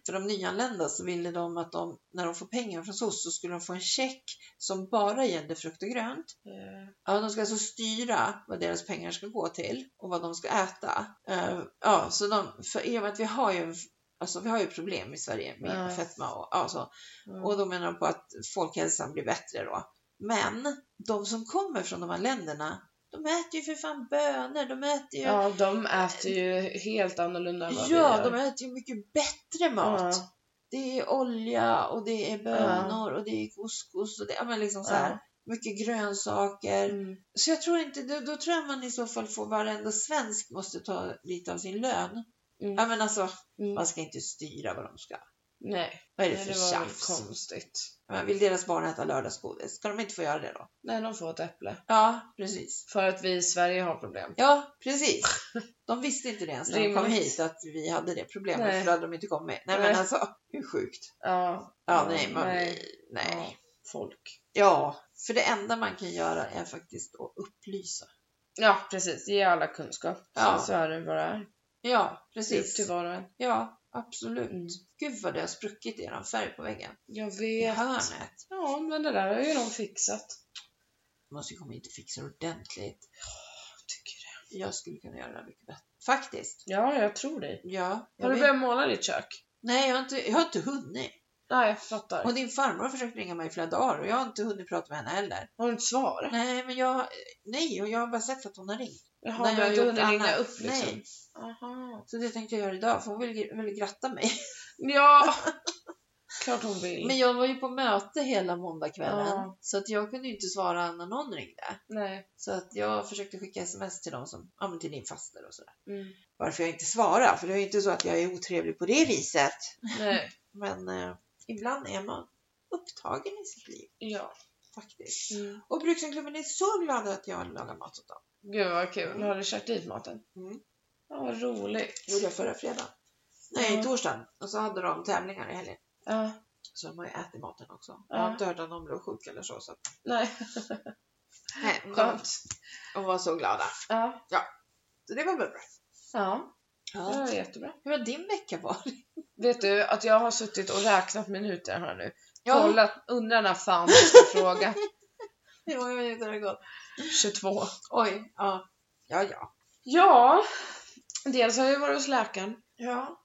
[SPEAKER 2] för de nyanlända så ville de att de, när de får pengar från SOS så skulle de få en check som bara gällde frukt och grönt.
[SPEAKER 1] Eh,
[SPEAKER 2] Ja, de ska alltså styra vad deras pengar ska gå till och vad de ska äta. Eh, ja, så de, för i och med att vi har ju, en- alltså vi har ju problem i Sverige med
[SPEAKER 1] Ja. Mm.
[SPEAKER 2] fetma och ja, så.
[SPEAKER 1] ja.
[SPEAKER 2] Och då menar de på att folkhälsan blir bättre då. Men de som kommer från de här länderna, de äter ju för fan bönor, de äter ju... Ja,
[SPEAKER 1] ja, de äter ju helt annorlunda än vad vi gör.
[SPEAKER 2] de äter ju mycket bättre mat.
[SPEAKER 1] Ja.
[SPEAKER 2] Det är olja och det är bönor och det är couscous och det, ja men liksom så här.
[SPEAKER 1] Ja.
[SPEAKER 2] Mycket grönsaker.
[SPEAKER 1] Mm.
[SPEAKER 2] Så jag tror inte, då, då tror jag man i så fall får varenda svensk måste ta lite av sin lön.
[SPEAKER 1] Mm.
[SPEAKER 2] Ja men alltså,
[SPEAKER 1] Mm.
[SPEAKER 2] man ska inte styra vad de ska.
[SPEAKER 1] Nej,
[SPEAKER 2] Vad är det
[SPEAKER 1] nej,
[SPEAKER 2] för
[SPEAKER 1] det var väl
[SPEAKER 2] tjafs?
[SPEAKER 1] konstigt.
[SPEAKER 2] Ja, men Vill deras barn äta lördagsgodis? Ska de inte få göra det då?
[SPEAKER 1] Nej, de får ett äpple.
[SPEAKER 2] Ja, precis.
[SPEAKER 1] För att vi i Sverige har problem.
[SPEAKER 2] Ja, precis. De visste inte det ens när de kom
[SPEAKER 1] Rimligt.
[SPEAKER 2] hit att vi hade det problemet
[SPEAKER 1] Nej.
[SPEAKER 2] för då hade de inte kommit. Nej men
[SPEAKER 1] Nej.
[SPEAKER 2] alltså, hur sjukt?
[SPEAKER 1] Ja,
[SPEAKER 2] Ja, nej, man
[SPEAKER 1] nej.
[SPEAKER 2] blir, nej.
[SPEAKER 1] folk.
[SPEAKER 2] Ja, för det enda man kan göra är faktiskt att upplysa.
[SPEAKER 1] Ja, precis. Ge alla kunskap.
[SPEAKER 2] Ja.
[SPEAKER 1] Så, så är det vad det är.
[SPEAKER 2] Ja,
[SPEAKER 1] Det är upp
[SPEAKER 2] precis.
[SPEAKER 1] till var och en.
[SPEAKER 2] Ja, absolut.
[SPEAKER 1] Mm.
[SPEAKER 2] Gud vad det har spruckit i den färg på väggen.
[SPEAKER 1] Jag
[SPEAKER 2] I
[SPEAKER 1] vet.
[SPEAKER 2] hörnet.
[SPEAKER 1] Ja, men det där har ju de fixat.
[SPEAKER 2] Måste ju komma hit och fixa det ordentligt.
[SPEAKER 1] Jag tycker det.
[SPEAKER 2] Jag skulle kunna göra det mycket bättre. Faktiskt.
[SPEAKER 1] Ja, jag tror dig.
[SPEAKER 2] Ja. jag
[SPEAKER 1] Har du
[SPEAKER 2] vet.
[SPEAKER 1] börjat måla ditt kök?
[SPEAKER 2] Nej, jag har, inte, jag har inte hunnit.
[SPEAKER 1] Nej, jag fattar.
[SPEAKER 2] Och din farmor har försökt ringa mig i flera dagar och jag har inte hunnit prata med henne heller.
[SPEAKER 1] Har du inte svar?
[SPEAKER 2] Nej, men jag, nej, och jag har bara sett att hon har ringt.
[SPEAKER 1] Jaha,
[SPEAKER 2] Nej,
[SPEAKER 1] du
[SPEAKER 2] jag
[SPEAKER 1] har
[SPEAKER 2] har
[SPEAKER 1] inte
[SPEAKER 2] gjort
[SPEAKER 1] hunnit ringa
[SPEAKER 2] annat.
[SPEAKER 1] upp liksom?
[SPEAKER 2] Nej.
[SPEAKER 1] Aha.
[SPEAKER 2] Så det tänkte jag göra idag, för hon ville vill gratta mig.
[SPEAKER 1] Ja! Klart hon vill.
[SPEAKER 2] Men jag var ju på möte hela måndagskvällen,
[SPEAKER 1] Ja.
[SPEAKER 2] så att jag kunde ju inte svara när någon ringde.
[SPEAKER 1] Nej.
[SPEAKER 2] Så att jag försökte skicka sms till dem som, ja men till din faster och sådär.
[SPEAKER 1] Mm.
[SPEAKER 2] Varför jag inte svarar, för det är ju inte så att jag är otrevlig på det viset.
[SPEAKER 1] Nej.
[SPEAKER 2] Men eh, ibland är man upptagen i sitt liv,
[SPEAKER 1] Ja.
[SPEAKER 2] faktiskt.
[SPEAKER 1] Mm.
[SPEAKER 2] Och Bruksanklubben är så glada att jag lagar mat åt dem.
[SPEAKER 1] Gud vad kul. Har du kört dit maten?
[SPEAKER 2] Mm.
[SPEAKER 1] Ja, vad roligt.
[SPEAKER 2] Det gjorde jag förra fredagen. Nej,
[SPEAKER 1] Ja.
[SPEAKER 2] torsdagen. Och så hade de tävlingar i helgen.
[SPEAKER 1] Ja.
[SPEAKER 2] Så de har ju ätit maten också.
[SPEAKER 1] Ja.
[SPEAKER 2] Jag har inte hört att de blev sjuka eller så. så. att-
[SPEAKER 1] Nej,
[SPEAKER 2] Nej, de,
[SPEAKER 1] skönt.
[SPEAKER 2] de var så glada.
[SPEAKER 1] Ja.
[SPEAKER 2] Så det var väl bra.
[SPEAKER 1] Ja, det
[SPEAKER 2] Ja.
[SPEAKER 1] var jättebra.
[SPEAKER 2] Hur har din vecka varit?
[SPEAKER 1] Vet du att jag har suttit och räknat minuter här nu.
[SPEAKER 2] Ja.
[SPEAKER 1] Kollat, undrar när fan jag ska fråga.
[SPEAKER 2] Hur många minuter har det gått?
[SPEAKER 1] 22.
[SPEAKER 2] Oj, ja. Ja, ja.
[SPEAKER 1] Ja, dels har jag varit hos läkaren.
[SPEAKER 2] Ja,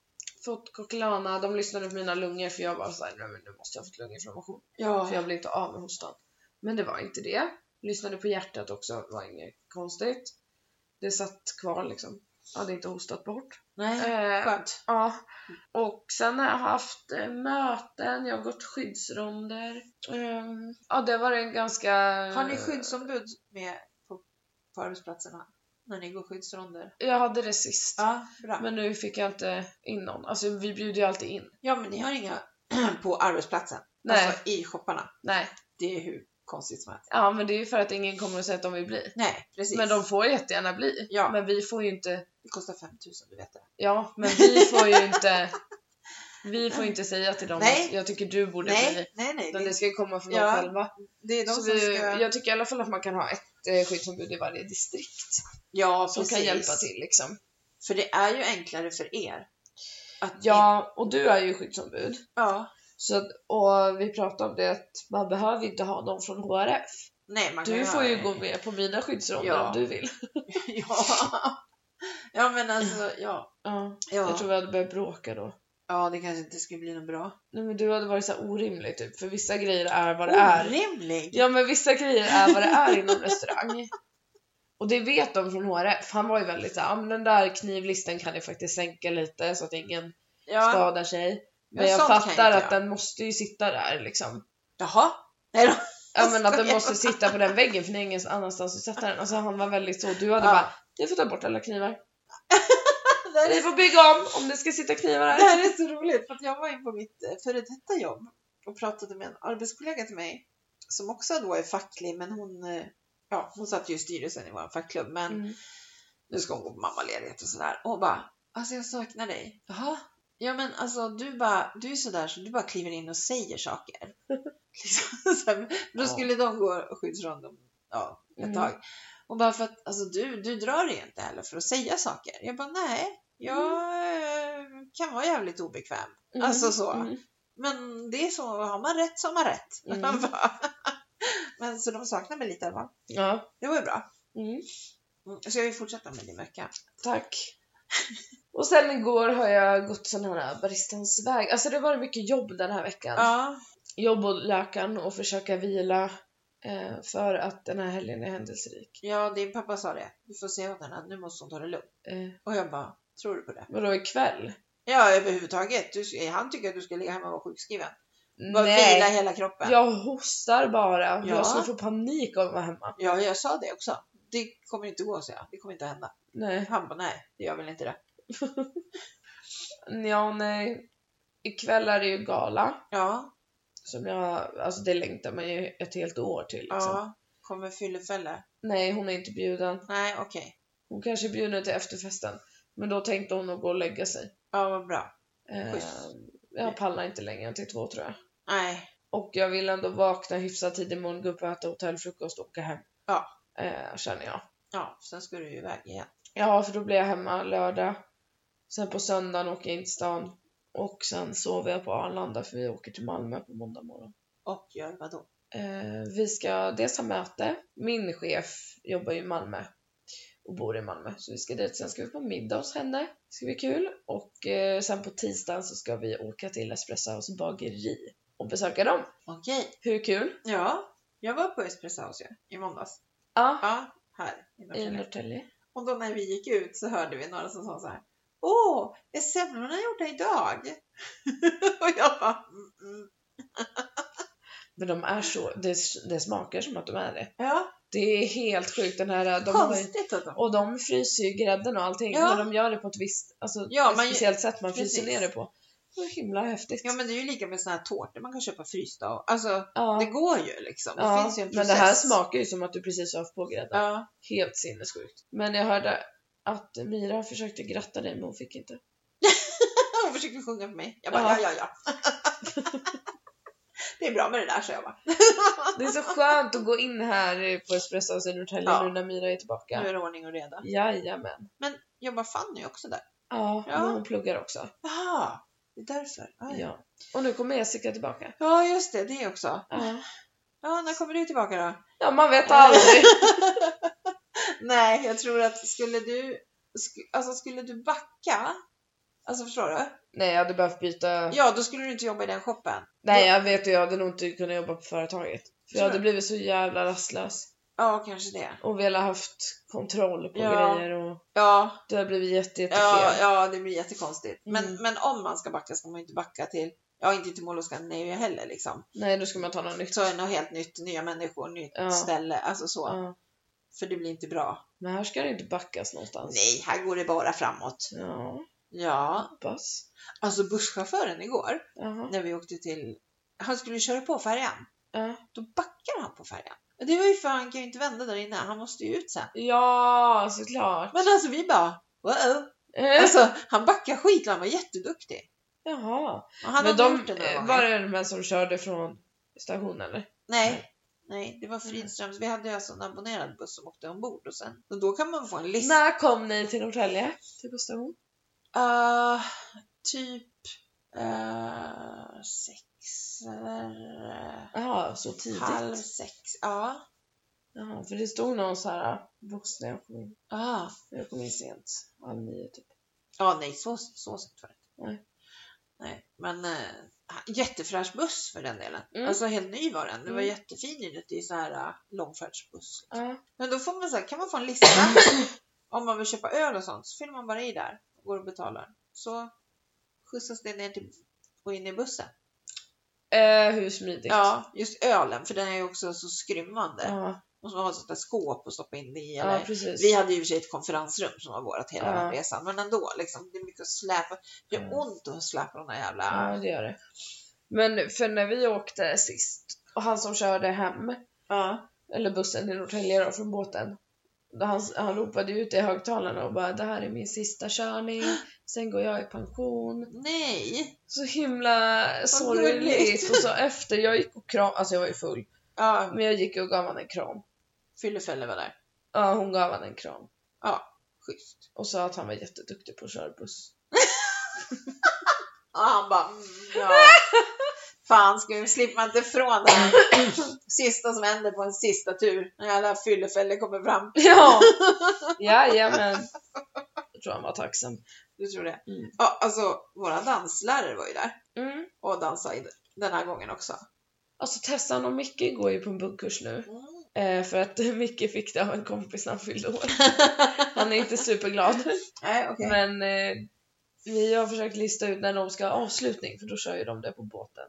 [SPEAKER 1] Fått Coquelana, de lyssnade på mina lungor för jag bara såhär, nej men nu måste jag ha fått lunginflammation. För
[SPEAKER 2] ja.
[SPEAKER 1] jag blir inte av med hostan. Men det var inte det. Lyssnade på hjärtat också, var inget konstigt. Det satt kvar liksom. Jag hade inte hostat bort.
[SPEAKER 2] Nej,
[SPEAKER 1] Eh,
[SPEAKER 2] skönt.
[SPEAKER 1] Ja, och sen har jag haft eh, möten, jag har gått skyddsronder. Ehm, Ja, det var en ganska...
[SPEAKER 2] Har ni skyddsombud med på, på arbetsplatserna? när ni går skyddsronder?
[SPEAKER 1] Jag hade det sist.
[SPEAKER 2] Ja, bra.
[SPEAKER 1] Men nu fick jag inte in någon. Alltså vi bjuder ju alltid in.
[SPEAKER 2] Ja, men ni har inga på arbetsplatsen?
[SPEAKER 1] Nej.
[SPEAKER 2] Alltså i shopparna?
[SPEAKER 1] Nej.
[SPEAKER 2] Det är hur konstigt som helst.
[SPEAKER 1] Ja men det är ju för att ingen kommer att säga att de vill bli.
[SPEAKER 2] Nej, precis.
[SPEAKER 1] Men de får jättegärna bli.
[SPEAKER 2] Ja.
[SPEAKER 1] Men vi får ju inte,
[SPEAKER 2] Det kostar 5000, du vet det.
[SPEAKER 1] ja men vi får ju inte, vi får inte säga till dem
[SPEAKER 2] Nej.
[SPEAKER 1] att jag tycker du borde bli.
[SPEAKER 2] Nej, nej, nej.
[SPEAKER 1] Utan
[SPEAKER 2] Det,
[SPEAKER 1] det ska ju komma från
[SPEAKER 2] Ja.
[SPEAKER 1] dem själva.
[SPEAKER 2] det är de
[SPEAKER 1] Så
[SPEAKER 2] som
[SPEAKER 1] vi,
[SPEAKER 2] ska...
[SPEAKER 1] Jag tycker i alla fall att man kan ha ett eh, skyddsombud i varje distrikt
[SPEAKER 2] Ja,
[SPEAKER 1] som kan hjälpa till liksom.
[SPEAKER 2] För det är ju enklare för er. Att
[SPEAKER 1] Ja, och du är ju skyddsombud.
[SPEAKER 2] ja.
[SPEAKER 1] Så att, och vi pratade om det att man behöver inte ha någon från HRF.
[SPEAKER 2] Nej, man
[SPEAKER 1] Du
[SPEAKER 2] kan
[SPEAKER 1] får
[SPEAKER 2] göra
[SPEAKER 1] ju
[SPEAKER 2] det.
[SPEAKER 1] gå med på mina skyddsronder
[SPEAKER 2] Ja.
[SPEAKER 1] om du vill.
[SPEAKER 2] ja. ja, men alltså, ja.
[SPEAKER 1] Ja.
[SPEAKER 2] Ja.
[SPEAKER 1] Jag tror vi hade börjat bråka då.
[SPEAKER 2] ja, det kanske inte skulle bli något bra.
[SPEAKER 1] Nej men du hade varit så här orimlig typ, för vissa grejer är vad det är.
[SPEAKER 2] Orimlig!
[SPEAKER 1] Ja men vissa grejer är vad det är inom restaurang. Och det vet de från HRF, han var ju väldigt såhär, ah, men den där knivlisten kan ni faktiskt sänka lite så att ingen
[SPEAKER 2] Ja.
[SPEAKER 1] skadar sig. Men
[SPEAKER 2] Ja,
[SPEAKER 1] jag
[SPEAKER 2] sånt kan
[SPEAKER 1] fattar
[SPEAKER 2] jag
[SPEAKER 1] att
[SPEAKER 2] inte
[SPEAKER 1] den måste ju sitta där liksom.
[SPEAKER 2] Jaha? Nej då.
[SPEAKER 1] Ja men att den
[SPEAKER 2] skojar.
[SPEAKER 1] måste sitta på den väggen för det är ingen annanstans att sätta den. Alltså han var väldigt så, du hade
[SPEAKER 2] Ja.
[SPEAKER 1] bara, ni får ta bort alla knivar.
[SPEAKER 2] Det här
[SPEAKER 1] Ni
[SPEAKER 2] är,
[SPEAKER 1] får bygga om om det ska sitta knivar
[SPEAKER 2] det
[SPEAKER 1] här.
[SPEAKER 2] här är så roligt för att jag var in på mitt eh, före detta jobb och pratade med en arbetskollega till mig som också då är facklig men hon, eh, ja, hon satt ju i styrelsen i vår fackklubb men
[SPEAKER 1] Mm.
[SPEAKER 2] nu ska hon gå på mammaledighet och sådär. Och hon bara, alltså jag saknar dig. Jaha? Ja men alltså du bara, du är sådär så du bara kliver in och säger saker. liksom, så här, då
[SPEAKER 1] Ja.
[SPEAKER 2] skulle de gå skyddsrond om ja, ett
[SPEAKER 1] Mm.
[SPEAKER 2] tag. Och bara för att alltså, du, du drar dig inte heller för att säga saker. Jag bara, nej, jag eh, kan vara jävligt obekväm.
[SPEAKER 1] Mm.
[SPEAKER 2] Alltså så.
[SPEAKER 1] Mm.
[SPEAKER 2] Men det är så, har man rätt så har man rätt.
[SPEAKER 1] Mm.
[SPEAKER 2] Man bara, men så de saknar mig lite i alla fall.
[SPEAKER 1] Ja.
[SPEAKER 2] Det var ju bra.
[SPEAKER 1] Mm.
[SPEAKER 2] Mm, Ska vi fortsätta med din vecka?
[SPEAKER 1] Tack. Och sen igår har jag gått sån här baristans väg. Alltså det har varit mycket jobb den här veckan.
[SPEAKER 2] Ja.
[SPEAKER 1] Jobb och läkaren och försöka vila eh, för att den här helgen är händelserik.
[SPEAKER 2] Ja, din pappa sa det. Du får säga åt henne att nu måste hon ta det lugnt.
[SPEAKER 1] Eh,
[SPEAKER 2] Och jag bara, tror du på det?
[SPEAKER 1] vadå ikväll?
[SPEAKER 2] Ja, överhuvudtaget. Du, han tycker att du ska ligga hemma och vara sjukskriven. Bara vila
[SPEAKER 1] Nej,
[SPEAKER 2] hela kroppen. Ja.
[SPEAKER 1] jag hostar bara.
[SPEAKER 2] Ja.
[SPEAKER 1] Jag skulle få panik av att vara hemma.
[SPEAKER 2] jag sa det också. Det kommer inte gå, så jag. Det kommer inte hända.
[SPEAKER 1] Nej,
[SPEAKER 2] Han bara, nej, det gör väl inte det.
[SPEAKER 1] ja, nej. Ikväll är det ju gala.
[SPEAKER 2] Ja,
[SPEAKER 1] Som jag, alltså det längtar man ju ett helt år till. Liksom.
[SPEAKER 2] ja. Kommer fyllefälle?
[SPEAKER 1] Nej, hon är inte bjuden.
[SPEAKER 2] Nej, okej.
[SPEAKER 1] Hon kanske är bjuden till efterfesten. Men då tänkte hon att gå och lägga sig.
[SPEAKER 2] Ja, vad bra.
[SPEAKER 1] Eh,
[SPEAKER 2] Schysst.
[SPEAKER 1] jag pallar inte längre än till två tror jag.
[SPEAKER 2] Nej, och
[SPEAKER 1] Och jag vill ändå vakna hyfsat tidigt imorgon, gå upp och äta hotellfrukost och åka hem.
[SPEAKER 2] Ja.
[SPEAKER 1] Eh, känner jag.
[SPEAKER 2] ja, sen ska du ju iväg igen.
[SPEAKER 1] Ja, för då blir jag hemma lördag. Sen på söndagen åker jag in till stan. Och sen sover jag på Arlanda för vi åker till Malmö på måndag morgon.
[SPEAKER 2] Och gör vadå?
[SPEAKER 1] Eh, vi ska dels ha möte. Min chef jobbar ju i Malmö och bor i Malmö. Så vi ska dit. Sen ska vi på middag hos henne. Det ska bli kul. Och eh, sen på tisdagen så ska vi åka till Espresso House bageri och besöka dem.
[SPEAKER 2] Okej.
[SPEAKER 1] Hur kul?
[SPEAKER 2] Ja, jag var på Espresso House ju, i måndags.
[SPEAKER 1] Ja,
[SPEAKER 2] Ja, här. i
[SPEAKER 1] i
[SPEAKER 2] Norrtälje.
[SPEAKER 1] Norrtälje.
[SPEAKER 2] Och då när vi gick ut så hörde vi några som sa så här. Åh, är semlorna gjorda idag? och jag bara, mm, mm.
[SPEAKER 1] Men de är så, det, det smakar som att de är det.
[SPEAKER 2] ja,
[SPEAKER 1] Det är helt sjukt den här, de har ju,
[SPEAKER 2] konstigt att de...
[SPEAKER 1] och de fryser ju grädden och allting,
[SPEAKER 2] Ja.
[SPEAKER 1] men de gör det på ett visst, alltså
[SPEAKER 2] Ja,
[SPEAKER 1] ett
[SPEAKER 2] man-
[SPEAKER 1] speciellt sätt man fryser
[SPEAKER 2] precis.
[SPEAKER 1] ner det på. Så himla häftigt.
[SPEAKER 2] Ja men det är ju lika med såna här tårtor man kan köpa frysta och, alltså
[SPEAKER 1] Ja.
[SPEAKER 2] det går ju liksom. Det
[SPEAKER 1] Ja,
[SPEAKER 2] finns ju en
[SPEAKER 1] men
[SPEAKER 2] process.
[SPEAKER 1] det här smakar ju som att du precis har haft på grädden.
[SPEAKER 2] Ja,
[SPEAKER 1] Helt sinnessjukt. Men jag hörde att Mira försökte gratta dig men hon fick inte.
[SPEAKER 2] hon försökte sjunga för mig. Jag bara, ja
[SPEAKER 1] Ja.
[SPEAKER 2] ja ja. det är bra med det där så jag bara.
[SPEAKER 1] Det är så skönt att gå in här på Espresso House i Norrtälje
[SPEAKER 2] Ja.
[SPEAKER 1] nu när Mira är
[SPEAKER 2] Nu
[SPEAKER 1] tillbaka.
[SPEAKER 2] är det ordning och reda.
[SPEAKER 1] Jajamän.
[SPEAKER 2] Jobbar Fanny också där?
[SPEAKER 1] Ja,
[SPEAKER 2] Ja.
[SPEAKER 1] men hon pluggar också.
[SPEAKER 2] Jaha, det är därför. Ah, ja.
[SPEAKER 1] Ja. Och nu kommer Jessica tillbaka.
[SPEAKER 2] ja just det, det också.
[SPEAKER 1] Ja,
[SPEAKER 2] Ja, när kommer du tillbaka då?
[SPEAKER 1] ja man vet aldrig.
[SPEAKER 2] Nej, jag tror att skulle du, sk, alltså skulle du backa, alltså förstår du?
[SPEAKER 1] Nej, jag hade behövt byta.
[SPEAKER 2] Ja, då skulle du inte jobba i den shoppen.
[SPEAKER 1] Nej, jag vet ju, jag hade nog inte kunnat jobba på företaget. För jag
[SPEAKER 2] Tror
[SPEAKER 1] hade
[SPEAKER 2] du?
[SPEAKER 1] blivit så jävla rastlös
[SPEAKER 2] Ja, kanske det.
[SPEAKER 1] och velat haft kontroll på
[SPEAKER 2] Ja.
[SPEAKER 1] grejer och
[SPEAKER 2] Ja,
[SPEAKER 1] det hade blivit jätte,
[SPEAKER 2] ja,
[SPEAKER 1] jättefel.
[SPEAKER 2] ja det blir jättekonstigt. Men,
[SPEAKER 1] Mm.
[SPEAKER 2] men om man ska backa ska man ju inte backa till, ja inte till mål och Scandinavia heller liksom.
[SPEAKER 1] Nej, då ska man ta något nytt.
[SPEAKER 2] Så är det något helt nytt, nya människor, nytt
[SPEAKER 1] Ja.
[SPEAKER 2] ställe, alltså så.
[SPEAKER 1] Ja.
[SPEAKER 2] för det blir inte bra.
[SPEAKER 1] Men här ska det inte backas någonstans.
[SPEAKER 2] Nej, här går det bara framåt.
[SPEAKER 1] Ja,
[SPEAKER 2] Ja,
[SPEAKER 1] hoppas.
[SPEAKER 2] alltså busschauffören igår,
[SPEAKER 1] Jaha.
[SPEAKER 2] när vi åkte till, han skulle köra på färjan.
[SPEAKER 1] Ja.
[SPEAKER 2] Då backar han på färjan. Och Det var ju för han kan ju inte vända där inne, han måste ju ut sen.
[SPEAKER 1] Ja, såklart.
[SPEAKER 2] Men alltså vi bara, wow.
[SPEAKER 1] Eh,
[SPEAKER 2] Alltså han backar skit och han var jätteduktig.
[SPEAKER 1] Jaha.
[SPEAKER 2] Och han
[SPEAKER 1] Men
[SPEAKER 2] hade
[SPEAKER 1] de,
[SPEAKER 2] gjort det några
[SPEAKER 1] eh,
[SPEAKER 2] gånger.
[SPEAKER 1] var det de här som körde från stationen eller?
[SPEAKER 2] Nej. Nej, det var Fridströms. Vi hade ju alltså en abonnerad buss som åkte ombord och sen, och då kan man få en lista.
[SPEAKER 1] När kom ni till Norrtälje? Till på station?
[SPEAKER 2] Uh, typ uh, sex eller eh,
[SPEAKER 1] Jaha, så tidigt?
[SPEAKER 2] halv sex. Ja.
[SPEAKER 1] Jaha, för det stod någon så här äh, vuxen när jag kom in.
[SPEAKER 2] Ah.
[SPEAKER 1] Jag kom in sent, halv nio typ.
[SPEAKER 2] Ja, nej, så, så sent var det
[SPEAKER 1] Nej.
[SPEAKER 2] inte. Nej, men eh, jättefräsch buss för den delen.
[SPEAKER 1] Mm.
[SPEAKER 2] Alltså helt ny var den. Det var
[SPEAKER 1] Mm.
[SPEAKER 2] jättefin inuti, så här eh, långfärdsbuss.
[SPEAKER 1] Ja.
[SPEAKER 2] Men då får man så här, kan man få en lista om man vill köpa öl och sånt. Så fyller man bara i där och går och betalar. Så skjutsas det ner till och in i bussen.
[SPEAKER 1] Eh, hur smidigt?
[SPEAKER 2] Ja, just ölen, för den är ju också så skrymmande.
[SPEAKER 1] Ja,
[SPEAKER 2] Måste man ha ett sånt där skåp och stoppa in det i.
[SPEAKER 1] ja
[SPEAKER 2] Eller...
[SPEAKER 1] precis.
[SPEAKER 2] Vi hade ju i och för sig ett konferensrum som var vårt hela
[SPEAKER 1] Ja.
[SPEAKER 2] resan, men ändå liksom, det är mycket att släpa. Det gör
[SPEAKER 1] Mm.
[SPEAKER 2] ont att släpa de där jävla...
[SPEAKER 1] Ja, det gör det. Men för när vi åkte sist och han som körde hem,
[SPEAKER 2] Ja.
[SPEAKER 1] eller bussen till Norrtälje då, från båten. då Han, han ropade ut i högtalarna och bara det här är min sista körning, sen går jag i pension.
[SPEAKER 2] Nej!
[SPEAKER 1] Så himla sorgligt.
[SPEAKER 2] gulligt.
[SPEAKER 1] Och så efter, jag gick och kram, alltså jag var ju full,
[SPEAKER 2] Ja,
[SPEAKER 1] men jag gick och gav honom en kram.
[SPEAKER 2] Fyllefälle var där.
[SPEAKER 1] Ja, hon gav honom en kram.
[SPEAKER 2] Schysst.
[SPEAKER 1] Och sa att han var jätteduktig på att köra buss.
[SPEAKER 2] Ja, han bara mm, ja. Fan, ska vi slippa inte ifrån det här sista som händer på en sista tur. När alla fyllefällor kommer fram.
[SPEAKER 1] Ja, jajamän. Jag tror han var tacksam.
[SPEAKER 2] Du tror det?
[SPEAKER 1] Mm.
[SPEAKER 2] Ja, alltså våra danslärare var ju där
[SPEAKER 1] Mm.
[SPEAKER 2] och dansade den här gången också.
[SPEAKER 1] Alltså Tessan och Micke går ju på en buggkurs nu.
[SPEAKER 2] Mm.
[SPEAKER 1] Eh, för att Micke fick det av en kompis när han fyllde år. Han är inte superglad.
[SPEAKER 2] Nej, okej.
[SPEAKER 1] Men eh, vi har försökt lista ut när de ska ha avslutning för då kör ju de det på båten.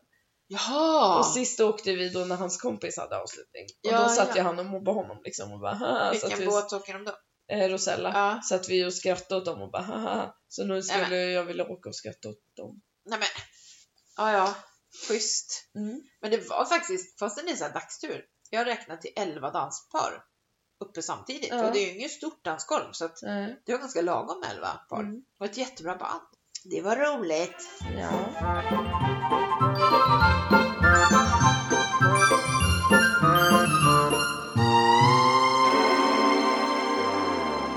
[SPEAKER 2] Jaha!
[SPEAKER 1] Och sist åkte vi då när hans kompis hade avslutning. Och
[SPEAKER 2] Ja,
[SPEAKER 1] då satt
[SPEAKER 2] ja.
[SPEAKER 1] jag han och mobbade honom liksom och bara haha.
[SPEAKER 2] Vilken
[SPEAKER 1] Satt vi,
[SPEAKER 2] båt åker de då?
[SPEAKER 1] eh, Rosella.
[SPEAKER 2] Alltså, Ja.
[SPEAKER 1] Satt vi och skrattade åt dem och bara haha. Så nu skulle
[SPEAKER 2] Nej,
[SPEAKER 1] jag vilja åka och skratta åt dem.
[SPEAKER 2] Nej men, ja ja, schysst.
[SPEAKER 1] Mm.
[SPEAKER 2] Men det var faktiskt, fastän det är så här dagstur, jag räknade till 11 danspar uppe samtidigt.
[SPEAKER 1] Ja.
[SPEAKER 2] Och det är ju inget stort dansgolv så att
[SPEAKER 1] Eh,
[SPEAKER 2] det var ganska lagom med 11 par.
[SPEAKER 1] Mm.
[SPEAKER 2] Och ett jättebra band. Det var roligt.
[SPEAKER 1] Ja.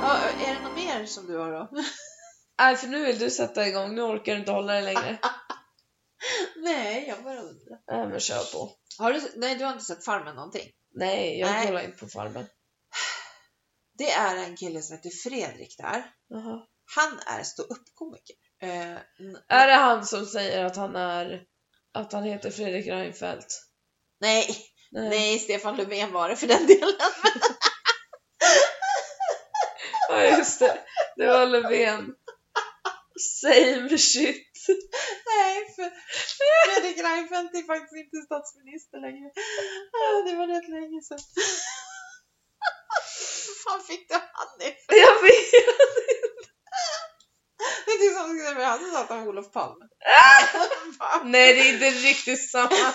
[SPEAKER 2] Ja, är det något mer som du har då?
[SPEAKER 1] Nej för nu vill du sätta igång, nu orkar du inte hålla dig längre.
[SPEAKER 2] nej, jag bara undrar.
[SPEAKER 1] Nej men kör på.
[SPEAKER 2] Har du, nej, du har inte sett Farmen någonting?
[SPEAKER 1] Nej, jag
[SPEAKER 2] Nej.
[SPEAKER 1] kollar inte på Farmen.
[SPEAKER 2] Det är en kille som heter Fredrik där.
[SPEAKER 1] Jaha.
[SPEAKER 2] Han är ståuppkomiker. Eh, n-
[SPEAKER 1] Är det han som säger att han är att han heter Fredrik Reinfeldt?
[SPEAKER 2] nej,
[SPEAKER 1] Nej.
[SPEAKER 2] nej, Stefan Löfven var det för den delen.
[SPEAKER 1] Ja just det, det var Löfven. Same shit.
[SPEAKER 2] Nej, för Fredrik Reinfeldt är faktiskt inte statsminister längre. Ah, Det var rätt länge sedan. Fan fick du han det?
[SPEAKER 1] Jag vet.
[SPEAKER 2] Det är som när vi hade satt om Olof Palme. Fan.
[SPEAKER 1] Nej det är inte riktigt samma.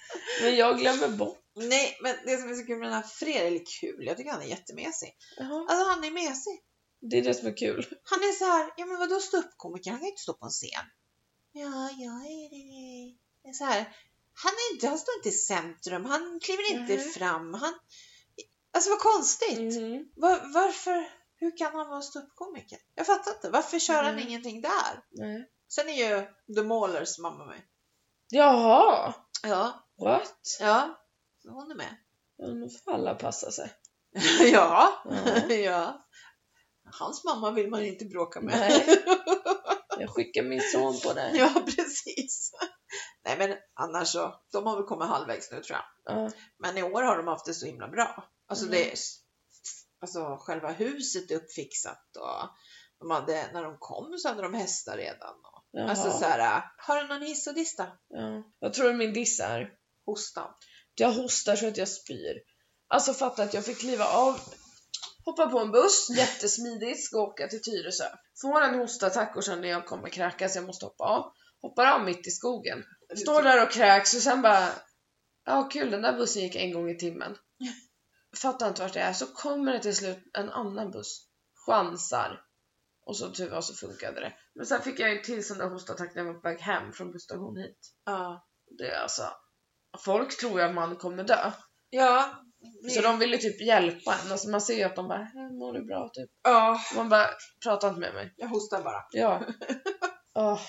[SPEAKER 1] Men jag glömmer bort.
[SPEAKER 2] Nej, men det som är så kul med den här Fredrik, eller kul, jag tycker han är jättemesig.
[SPEAKER 1] Jaha.
[SPEAKER 2] Alltså han är mesig.
[SPEAKER 1] Det är det som är kul.
[SPEAKER 2] Han är så här, ja men vadå ståuppkomiker, han kan ju inte stå på en scen. Ja, jag är det. det är så här, han, är inte, han står inte i centrum, han kliver inte
[SPEAKER 1] Mhm.
[SPEAKER 2] fram. Han, alltså vad konstigt.
[SPEAKER 1] Mhm.
[SPEAKER 2] Var, varför? Hur kan han vara ståuppkomiker? Jag fattar inte. Varför kör han
[SPEAKER 1] Mm.
[SPEAKER 2] ingenting där?
[SPEAKER 1] Nej.
[SPEAKER 2] Sen är ju The Maulers mamma med.
[SPEAKER 1] Jaha,
[SPEAKER 2] Ja,
[SPEAKER 1] what?
[SPEAKER 2] ja. Så Hon är med.
[SPEAKER 1] Ja, Nu får alla passa sig.
[SPEAKER 2] ja,
[SPEAKER 1] Ja.
[SPEAKER 2] ja. Hans mamma vill man inte bråka med.
[SPEAKER 1] Nej. Jag skickar min son på det.
[SPEAKER 2] Ja, precis. Nej, men annars så. De har väl kommit halvvägs nu tror jag.
[SPEAKER 1] Ja.
[SPEAKER 2] Men i år har de haft det så himla bra. Alltså,
[SPEAKER 1] Mm.
[SPEAKER 2] det är, alltså själva huset är uppfixat och de hade, när de kom så hade de hästar redan. Och,
[SPEAKER 1] Jaha.
[SPEAKER 2] alltså så här, har du någon hiss och diss då?
[SPEAKER 1] ja. Vad tror du min diss är?
[SPEAKER 2] Hostan.
[SPEAKER 1] Jag hostar så att jag spyr. Alltså fatta att jag fick kliva av, hoppa på en buss, jättesmidigt, ska åka till Tyresö. Får en hostattack och känner jag kommer kräkas, jag måste hoppa av. Hoppar av mitt i skogen. Står där och kräks och sen bara, ja kul den där bussen gick en gång i timmen. Fattar inte vart det är, så kommer det till slut en annan buss. Chansar. Och så tur var så funkade det. Men sen fick jag ju till sån där hostattack när jag var på väg hem från busstationen hit.
[SPEAKER 2] Ja.
[SPEAKER 1] Det är alltså, folk tror ju att man kommer dö.
[SPEAKER 2] Ja.
[SPEAKER 1] Så de ville typ hjälpa en. Alltså man ser ju att de bara "Här, “mår du bra?” typ.
[SPEAKER 2] ja,
[SPEAKER 1] Man bara “prata inte med mig”.
[SPEAKER 2] jag hostar bara.
[SPEAKER 1] Ja. Åh.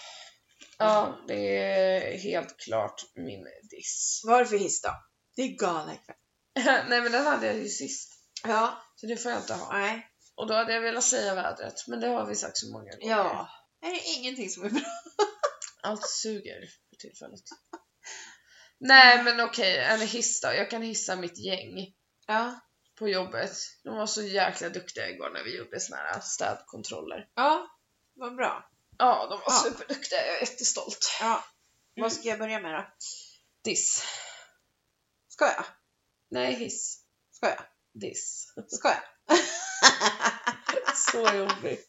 [SPEAKER 1] Ja, det är helt klart min diss.
[SPEAKER 2] Vad är det för hiss då? Det är galakväll.
[SPEAKER 1] Nej men den hade jag ju sist.
[SPEAKER 2] Ja,
[SPEAKER 1] Så det får jag inte ha.
[SPEAKER 2] nej.
[SPEAKER 1] Och då hade jag velat säga vädret, men det har vi sagt så många gånger.
[SPEAKER 2] Ja. Det är ingenting som är bra.
[SPEAKER 1] Allt suger för tillfället. Nej men okej, en hiss då. Jag kan hissa mitt gäng
[SPEAKER 2] Ja.
[SPEAKER 1] på jobbet. De var så jäkla duktiga igår när vi gjorde såna här städkontroller.
[SPEAKER 2] Ja, vad bra.
[SPEAKER 1] Ja, de var
[SPEAKER 2] Ja.
[SPEAKER 1] superduktiga. Jag är jättestolt.
[SPEAKER 2] Ja. Vad ska jag börja med då?
[SPEAKER 1] Diss.
[SPEAKER 2] Ska jag?
[SPEAKER 1] Nej, hiss.
[SPEAKER 2] Ska jag?
[SPEAKER 1] Diss.
[SPEAKER 2] Ska jag?
[SPEAKER 1] Så jobbig.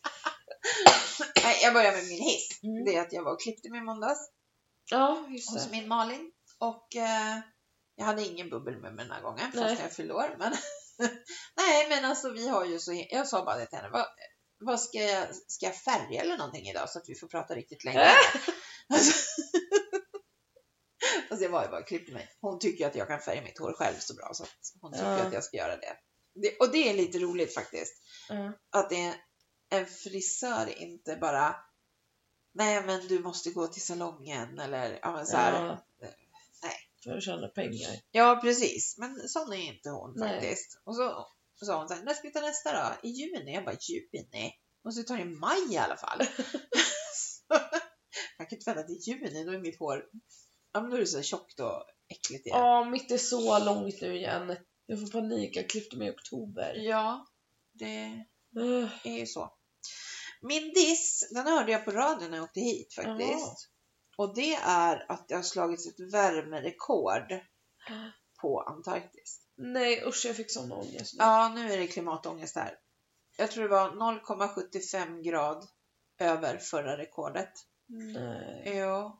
[SPEAKER 2] Nej, jag börjar med min hiss.
[SPEAKER 1] Mm.
[SPEAKER 2] Det är att jag var och klippte mig i måndags
[SPEAKER 1] Ja, just
[SPEAKER 2] hos
[SPEAKER 1] det.
[SPEAKER 2] min Malin. Och eh, jag hade ingen bubbel med mig den här gången,
[SPEAKER 1] Nej.
[SPEAKER 2] fast jag fyllde år. Men Nej, men alltså vi har ju så... Jag sa bara det till henne. Vad, vad ska, jag, ska jag färga eller någonting idag så att vi får prata riktigt länge?
[SPEAKER 1] Äh?
[SPEAKER 2] alltså, alltså jag var ju bara och klippte mig. Hon tycker ju att jag kan färga mitt hår själv så bra så att hon tycker
[SPEAKER 1] Ja.
[SPEAKER 2] att jag ska göra det. det. Och det är lite roligt faktiskt.
[SPEAKER 1] Ja.
[SPEAKER 2] Att det är en frisör inte bara Nej men du måste gå till salongen eller ja men så här.
[SPEAKER 1] Ja.
[SPEAKER 2] Nej.
[SPEAKER 1] För att tjäna pengar.
[SPEAKER 2] Ja, precis. Men sån är inte hon
[SPEAKER 1] Nej.
[SPEAKER 2] faktiskt. Och så så sa hon så här, när ska vi ta nästa då? I juni? Jag bara, juni? Och så tar det i maj i alla fall. Man kan inte vänta till juni, då är mitt hår, ja men då är det så här tjockt och äckligt igen.
[SPEAKER 1] Ja, mitt är så långt nu igen. Jag får panik. Jag klippte mig i oktober.
[SPEAKER 2] Ja, det
[SPEAKER 1] Ugh.
[SPEAKER 2] är ju så. Min diss, den hörde jag på radion när jag åkte hit faktiskt.
[SPEAKER 1] Jaha.
[SPEAKER 2] Och det är att det har slagits ett värmerekord på Antarktis.
[SPEAKER 1] Nej usch, jag fick sån ångest nu.
[SPEAKER 2] Ja, nu är det klimatångest här. Jag tror det var 0,75 grad över förra rekordet.
[SPEAKER 1] Nej.
[SPEAKER 2] Jo.